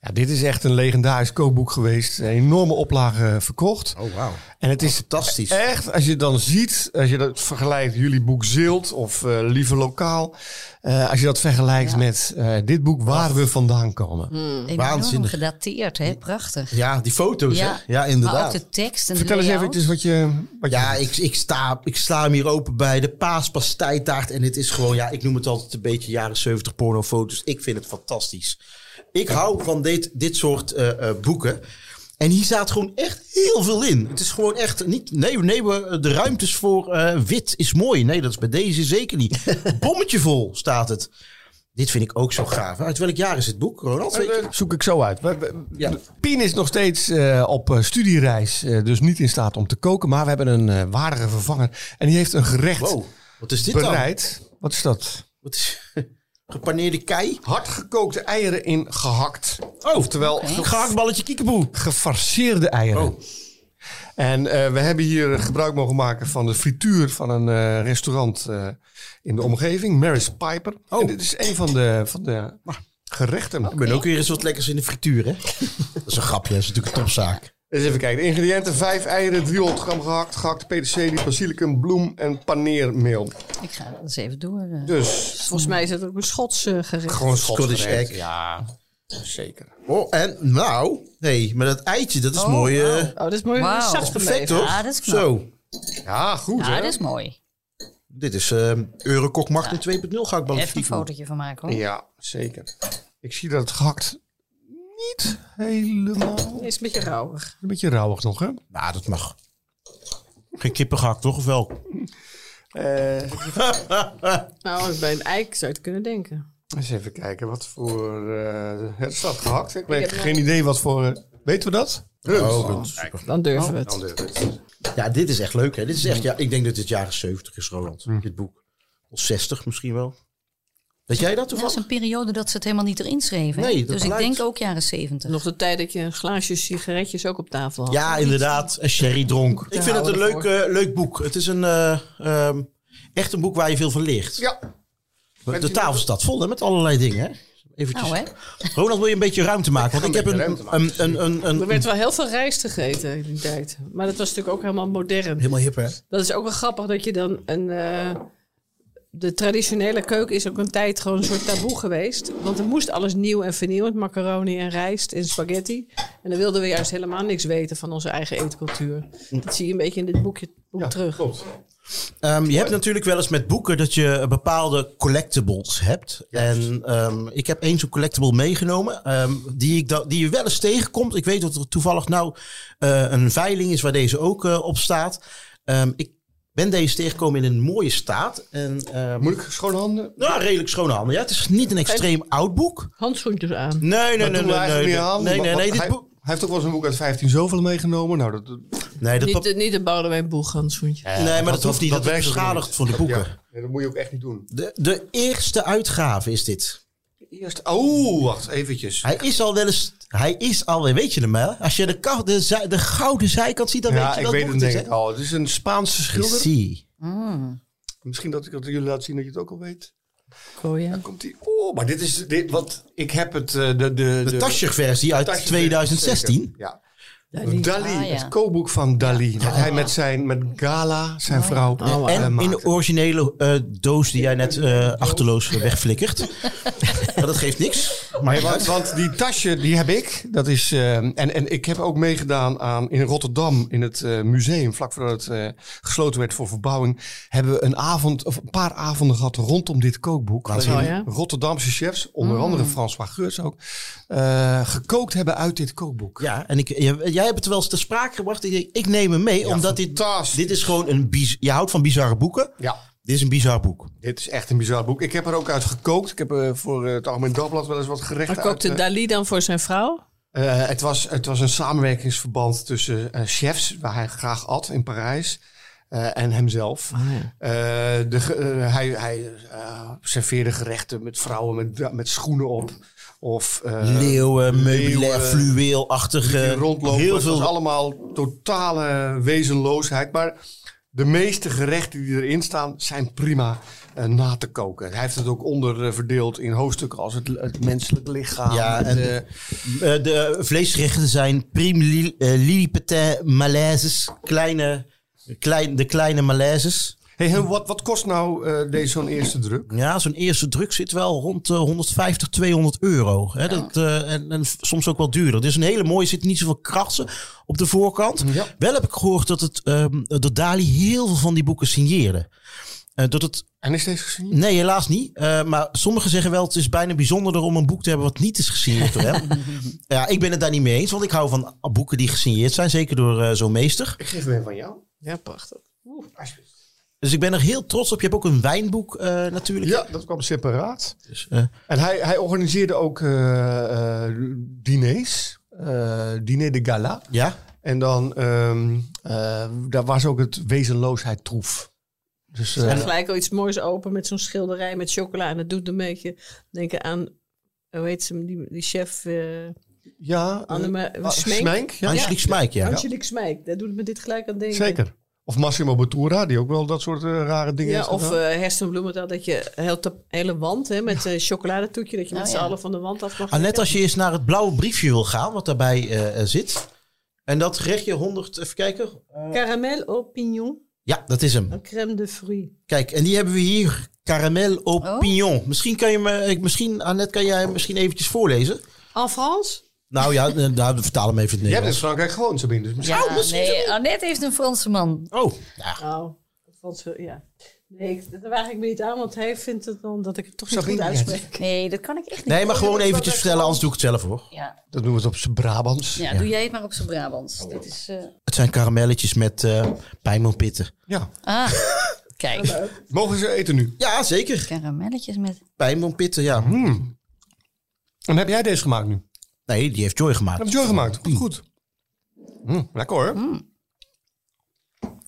S2: Ja, dit is echt een legendarisch kookboek geweest. Een enorme oplage verkocht.
S3: Oh, wauw.
S2: En het is
S3: Fantastisch.
S2: echt, als je dan ziet, als je dat vergelijkt, jullie boek Zilt of eh Lieve Lokaal. eh, als je dat vergelijkt met eh, dit boek waar we vandaan komen.
S1: Enorm
S3: Waanzinnig.
S1: gedateerd, hè? Prachtig.
S3: Ja, die foto's,
S1: Ja.
S3: hè? Ja,
S1: Maar ook
S3: inderdaad.
S1: de tekst en de
S2: Vertel eens
S1: layout.
S2: eventjes wat je... Wat je-
S3: Ja, ik, ik, sta, ik sla hem hier open bij de paaspastijtaart. En het is gewoon, ja, ik noem het altijd een beetje jaren 70 pornofoto's. Ik vind het fantastisch. Ik hou van dit, dit soort eh, eh, boeken. En hier staat gewoon echt heel veel in. Het is gewoon echt niet. Nee, nee we, de ruimtes voor eh, wit is mooi. Nee, dat is bij deze zeker niet. Bommetje vol staat het. Dit vind ik ook zo gaaf. Uit welk jaar is het boek, Ronald? Weet je?
S2: Zoek ik zo uit. We- we-
S3: Ja.
S2: Pien is nog steeds eh, op eh, studiereis, eh, dus niet in staat om te koken. Maar we hebben een eh, waardige vervanger. En die heeft een gerecht
S3: Wow, Oh, wat is dit dan?
S2: bereid. Wat is dat?
S3: Wat is, gepaneerde kei?
S2: Hardgekookte eieren in gehakt.
S3: Oh,
S2: Oftewel
S3: Een gehaktballetje kiekeboe.
S2: gefarseerde eieren.
S3: Oh.
S2: En eh, we hebben hier gebruik mogen maken van de frituur van een eh, restaurant eh, in de omgeving, Maris Piper.
S3: Oh.
S2: En dit is een van de, van de gerechten.
S3: Ik ben ook weer eens wat lekkers in de frituur, hè? dat is een grapje, dat is natuurlijk een topzaak.
S2: Eens even kijken. De ingrediënten: 5 eieren, 300 gram gehakt, gehakte peterselie, basilicum, bloem en paneermeel.
S1: Ik ga dat eens even door. eh.
S2: Dus
S5: Volgens mij is het ook een Schots eh, gerecht.
S2: gewoon
S3: Scottish
S2: schotgerecht.
S3: egg.
S2: Ja, zeker.
S3: Oh, en nou, nee, maar dat eitje, dat is mooi. eh,
S5: Oh, dat is mooi
S1: Wauw.
S5: zacht
S3: Perfect,
S5: gebleven.
S3: toch?
S1: nou. Ja, Ah, dat is knap.
S3: Zo,
S2: Ja, goed
S1: Ja,
S2: hè?
S1: dat is mooi.
S3: dit is eh Eurocock Magnum 2.0 gehaktballetje
S1: Even een
S3: kiekeboe.
S1: fotootje van maken hoor.
S2: Ja, zeker. Ik zie dat het gehakt niet helemaal...
S5: Is een beetje rauwig.
S2: Een beetje rauwig nog, hè?
S3: Nou, dat mag. Oh, Geen kippen gehakt, toch? Of wel?
S5: Nou, als bij een eik zou je het kunnen denken.
S2: Eens even kijken wat voor. eh het staat gehakt. Ik
S5: heb
S2: weet
S5: nog-
S2: geen idee wat voor. eh, weten we dat?
S3: Oh, goed.
S5: Dan durven we het.
S3: Ja, dit is echt leuk, hè? Dit is echt, ja, ik denk dat dit jaren 70 is, Roland. Dit boek. Of 60 misschien wel. Weet jij dat
S1: Er was
S3: toevallig?
S1: een periode dat ze het helemaal niet erin schreven. hè?
S3: Nee, dat
S1: dus
S3: blijkt. Nou,
S1: ik denk ook jaren zeventig.
S5: Nog de tijd dat je een glaasje sigaretjes ook op tafel had.
S3: Ja, inderdaad. En sherry dronk. Ik vind het een leuk, eh, leuk boek. Het is een, eh, ehm, echt een boek waar je veel van leert.
S2: Ja.
S3: De tafel staat vol hè, met allerlei dingen. Hè? Eventjes.
S1: Nou hè,
S3: Ronald, wil je een beetje ruimte maken? Want ik
S2: Ik
S3: heb
S2: ga
S3: een,
S2: een beetje
S3: een, een, een, een,
S5: Er werd wel heel veel rijst gegeten in die tijd. Maar dat was natuurlijk ook helemaal modern.
S3: Helemaal hip, hè?
S5: Dat is ook wel grappig dat je dan een. eh, de traditionele keuken is ook een tijd gewoon een soort taboe geweest. Want er moest alles nieuw en vernieuwend. Macaroni en rijst en spaghetti. En dan wilden we juist helemaal niks weten van onze eigen eetcultuur.
S3: Mm.
S5: Dat zie je een beetje in dit boekje boek terug.
S3: Ehm, je hebt natuurlijk wel eens met boeken dat je bepaalde collectibles hebt. En ehm, ik heb één zo'n collectible meegenomen. ehm, die, ik da- die je wel eens tegenkomt. Ik weet dat er toevallig nou eh, een veiling is waar deze ook eh, op staat. Ehm, ik ben deze tegengekomen in een mooie staat. En, ehm,
S2: Moet ik schone handen?
S3: nou, redelijk schone handen. Ja, het is niet een extreem oud boek.
S5: Handschoentjes aan.
S3: Nee,
S2: Dat
S3: nee, nee,
S2: doen we
S3: nee, nee,
S2: eigenlijk
S3: nee,
S2: niet aan.
S3: nee,
S2: Want-
S3: nee,
S2: want
S3: nee, dit
S2: hij,
S3: boek.
S2: hij heeft ook wel eens een boek uit 15 zoveel meegenomen. Nou, dat, dat,
S3: Nee, dat,
S5: Niet,
S3: pap-
S5: de- niet een Boudewijn Boeg handschoentje.
S3: nee, maar dat
S2: dat-
S3: hoeft niet.
S2: dat
S3: Dat, dat is
S2: werkt ook
S3: beschadigd
S2: niet.
S3: voor de boeken.
S2: ja. Ja, dat moet je ook echt niet doen.
S3: De, de eerste uitgave is dit.
S2: Eerst. Oh, wacht eventjes.
S3: Hij is al wel eens. Hij is alweer, weet je hem hè? Als je de, ka- de, zij- de gouden zijkant ziet, dan
S2: ja,
S3: weet je
S2: ik
S3: dat
S2: weet
S3: boek
S2: het
S3: is,
S2: denk
S3: hè?
S2: ik al. Het is een Spaanse schilder.
S3: Zie.
S1: Hmm.
S2: Misschien dat ik dat jullie laat zien dat je het ook al weet.
S5: Oh, ja.
S2: Dan komt hij. Oh, maar dit is. Dit, want ik heb het. eh, de, de,
S3: De Taschig-versie uit
S2: Tasje-
S3: 2016.
S2: Ja.
S5: Dali.
S2: Dali,
S1: Ah, ja.
S2: het kookboek van Dali. Dat hij met zijn met Gala, zijn vrouw, eh,
S3: En in
S2: maakte.
S3: de originele eh, doos die jij net eh, achterloos wegflikkert. maar dat geeft niks. Maar
S2: Nee, want, want die tasje, die heb ik. Dat is, eh, en, en ik heb ook meegedaan aan in Rotterdam, in het eh, museum, vlak voordat het eh, gesloten werd voor verbouwing, hebben we een avond, of een paar avonden gehad rondom dit kookboek. Waarin
S5: wel, ja.
S2: Rotterdamse chefs, onder andere François Geurs ook, eh, gekookt hebben uit dit kookboek.
S3: ja, en ik, jij, jij hebt het wel eens ter sprake gebracht. Ik, denk, ik neem hem mee, omdat dit,
S2: fantastisch.
S3: dit is gewoon een... Biz, je houdt van bizarre boeken.
S2: Ja.
S3: Dit is een bizar boek.
S2: Dit is echt een bizar boek. Ik heb er ook uit gekookt. Ik heb eh, voor eh, het Algemeen Dagblad wel eens wat gerechten
S5: Maar
S2: uit,
S5: kookte
S2: eh,
S5: Dali dan voor zijn vrouw?
S2: Eh, het, was, het was een samenwerkingsverband tussen eh, chefs, waar hij graag at in Parijs, eh, en hemzelf.
S3: Ah,
S2: Eh, de, ge- eh, hij hij eh, serveerde gerechten met vrouwen met, da- met schoenen op. Of eh,
S3: Leeuwen, meubilair,
S2: leeuwen, die
S3: fluweelachtige.
S2: rondlopen.
S3: Heel
S2: Het was
S3: veel.
S2: allemaal totale wezenloosheid. Maar de meeste gerechten die erin staan, zijn prima eh, na te koken. Hij heeft het ook onderverdeeld in hoofdstukken als het, het menselijk lichaam.
S3: Ja,
S2: het,
S3: en
S2: eh,
S3: Eh, de vleesgerechten zijn prime li, eh, lillipetin malaises. Kleine, klein, de kleine malaises.
S2: Hey, en wat, wat kost nou eh, deze zo'n eerste druk?
S3: Ja, zo'n eerste druk zit wel rond eh, 150, 200 euro. Hè? Dat, eh, en, en soms ook wel duurder. Het is een hele mooie, er zitten niet zoveel krassen op de voorkant.
S2: Ja.
S3: Wel heb ik gehoord dat, het, ehm, dat Dali heel veel van die boeken signeerde. Eh, dat het,
S2: En is deze gezien?
S3: nee, helaas niet. Eh, maar sommigen zeggen wel, het is bijna bijzonderder om een boek te hebben wat niet is gesigneerd door hem. ja, ik ben het daar niet mee eens, want ik hou van boeken die gesigneerd zijn. Zeker door eh, zo'n meester.
S2: Ik geef hem een van jou.
S5: Ja, prachtig.
S3: Dus ik ben er heel trots op. Je hebt ook een wijnboek eh, natuurlijk.
S2: Ja, dat kwam separaat.
S3: Dus, eh,
S2: En hij, hij organiseerde ook eh, eh, diners. eh, diner de gala.
S3: ja?
S2: En dan, ehm, eh, daar was ook het wezenloosheid troef. Dus, eh,
S5: En gelijk al iets moois open met zo'n schilderij met chocola. En dat doet een beetje denken aan, hoe heet ze, hem, die, die chef eh
S2: ja, eh,
S5: Anneme
S2: ah,
S5: Smeek.
S2: Smenk, ja.
S3: Angelique Smijk, ja.
S5: Angelique Smijk, daar doet me dit gelijk aan denken.
S2: Zeker. Of Massimo Bottura, die ook wel dat soort eh, rare dingen
S5: Ja,
S2: heeft
S5: of
S2: gedaan.
S5: eh Hersten Bloementaal, dat je heel tap- hele wand hè, met eh chocoladetoetje, dat je
S1: Oh,
S5: met z'n
S1: ja.
S5: allen van de wand af mag.
S3: Annette, als je eens naar het blauwe briefje wil gaan, wat daarbij eh, eh, zit. En dat gerechtje 100, even kijken. Eh,
S5: Caramel au pignon,
S3: ja, dat is hem.
S5: een crème de fruit.
S3: Kijk, en die hebben we hier. Caramel au
S1: Oh.
S3: pignon. Misschien kan je me, ik- misschien, Annette, kan jij hem misschien eventjes voorlezen?
S5: En France?
S3: Nou ja, eh, nou, vertaal hem even in
S2: Jij
S3: het
S2: bent in
S3: Nederlands.
S2: Frankrijk gewoon, Sabine. Dus misschien-
S1: Ja, nee, Annette heeft een Franse man.
S3: Oh, ja.
S5: Oh, dat vond ze, ja. Nee, ik, daar waag ik me niet aan, want hij vindt het dan dat ik het toch niet
S2: Sorry,
S5: goed
S2: net.
S5: uitspreek.
S1: Nee, dat kan ik echt niet.
S3: Nee, maar gewoon eventjes vertellen, anders doe ik het zelf hoor.
S1: Ja,
S2: Dat doen we het op zijn Brabants.
S1: ja, doe jij het maar op zijn Brabants.
S3: Oh.
S1: Dit is... eh,
S3: Het zijn karamelletjes met eh pijnmanpitten.
S2: Ja.
S1: Ah, kijk.
S2: Mogen ze eten nu?
S3: Ja, zeker.
S1: Karamelletjes met...
S3: Pijnmanpitten, ja.
S2: Mm. En heb jij deze gemaakt nu?
S3: Nee, die heeft Joy gemaakt.
S2: Heb je Joy gemaakt? Goed. goed. Mm, lekker hoor.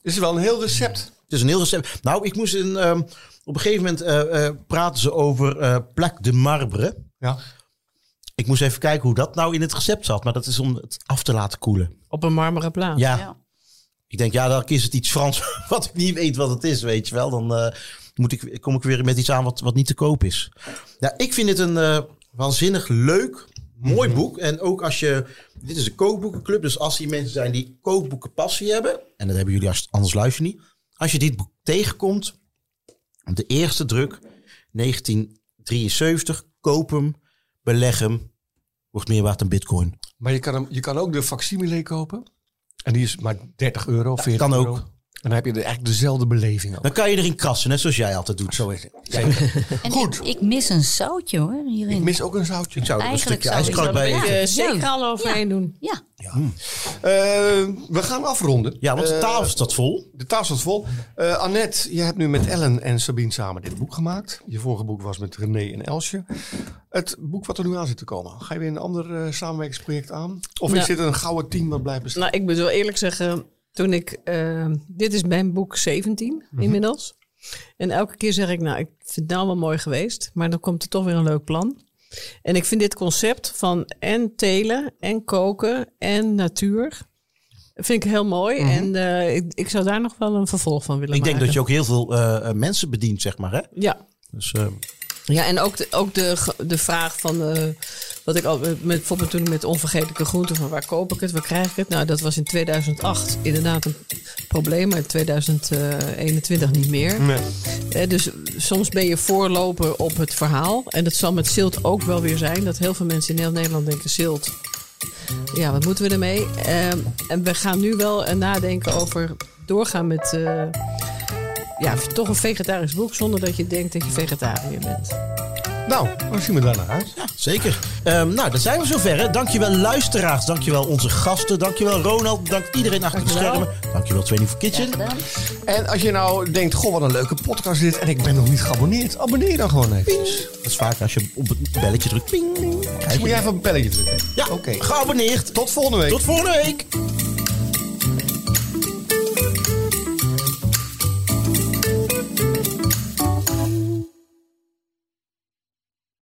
S2: Is wel een heel recept.
S3: Het is een heel recept. Nou, ik moest een. ehm, op een gegeven moment eh, eh, praten ze over eh plaque de marbre.
S2: Ja.
S3: Ik moest even kijken hoe dat nou in het recept zat. Maar dat is om het af te laten koelen.
S5: Op een marmeren plaat.
S3: Ja,
S1: Ja.
S3: ik denk, ja, dan is het iets Frans wat ik niet weet wat het is, weet je wel. Dan eh, moet ik, kom ik weer met iets aan wat, wat niet te koop is. Ja, ik vind het een eh, waanzinnig leuk, mooi boek. En ook als je... Dit is een kookboekenclub, dus als die mensen zijn die kookboeken passie hebben... en dat hebben jullie, als, anders luister je niet. Als je dit boek tegenkomt, de eerste druk, 1973, koop hem, beleg hem, wordt meer waard dan bitcoin.
S2: Maar je kan, hem, je kan ook de facsimile kopen. En die is maar 30 euro, 40
S3: kan ook.
S2: euro. En dan heb je de, eigenlijk dezelfde beleving ook.
S3: Dan kan je erin krassen, net zoals jij altijd doet. Zo is het.
S1: En
S2: Goed.
S1: Ik, ik mis een zoutje hoor, hierin.
S2: Ik mis ook een zoutje.
S3: Ik zou er een
S1: Eigenlijk
S3: stukje
S1: zou ik
S3: ijskrat
S1: dat
S3: bij
S1: willen.
S3: eten.
S5: Eh,
S1: Ja.
S5: zeker al overheen doen.
S1: Ja,
S3: Mhm.
S2: Eh, we gaan afronden.
S3: Ja, want de
S2: Eh,
S3: tafel staat vol.
S2: De tafel staat vol. Eh, Annette, je hebt nu met Ellen en Sabine samen dit boek gemaakt. Je vorige boek was met René en Elsje. Het boek wat er nu aan zit te komen, ga je weer een ander eh, samenwerkingsproject aan? Of
S5: Nou.
S2: is dit een gouden team dat blijft bestaan?
S5: Nou, ik moet wel eerlijk zeggen, toen ik. eh, dit is mijn boek 17
S3: Mhm.
S5: inmiddels. En elke keer zeg ik, nou, ik vind het nou wel mooi geweest, maar dan komt er toch weer een leuk plan. En ik vind dit concept van en telen en koken en natuur. Vind ik heel mooi. En eh, ik, ik zou daar nog wel een vervolg van willen
S3: Mhm. Ik
S5: maken.
S3: denk dat je ook heel veel eh, eh, mensen bedient, zeg maar. Hè?
S5: Ja,
S3: Dus, eh,
S5: ja, en ook de, ook de, ge- de vraag van, eh, wat ik al, met, bijvoorbeeld toen met onvergetelijke groenten, van waar koop ik het, waar krijg ik het? Nou, dat was in 2008 inderdaad een probleem, maar in 2021 niet meer. Eh, dus soms ben je voorloper op het verhaal. En dat zal met zilt ook wel weer zijn, dat heel veel mensen in heel Nederland denken, zilt, ja, wat moeten we ermee? Ehm, en we gaan nu wel eh, nadenken over doorgaan met... eh, ja, toch een vegetarisch boek zonder dat je denkt dat je vegetariër bent.
S2: Nou, dan zien we daar naar uit.
S3: ja, zeker. Ehm, nou, dan zijn we zover. Hè. Dankjewel luisteraars. Dankjewel onze gasten. Dankjewel Ronald. Dank iedereen achter
S5: Dankjewel.
S3: de schermen. Dankjewel 24 Kitchen.
S1: gedaan.
S2: En als je nou denkt, goh, wat een leuke podcast dit en ik ben nog niet geabonneerd, abonneer dan gewoon eventjes.
S3: dat is vaak als je op het belletje drukt. Ping, ping. Kijk
S2: Dus moet
S3: je.
S2: jij even een belletje drukken.
S3: Ja,
S2: Oké.
S3: geabonneerd.
S2: Tot volgende week.
S3: Tot volgende week.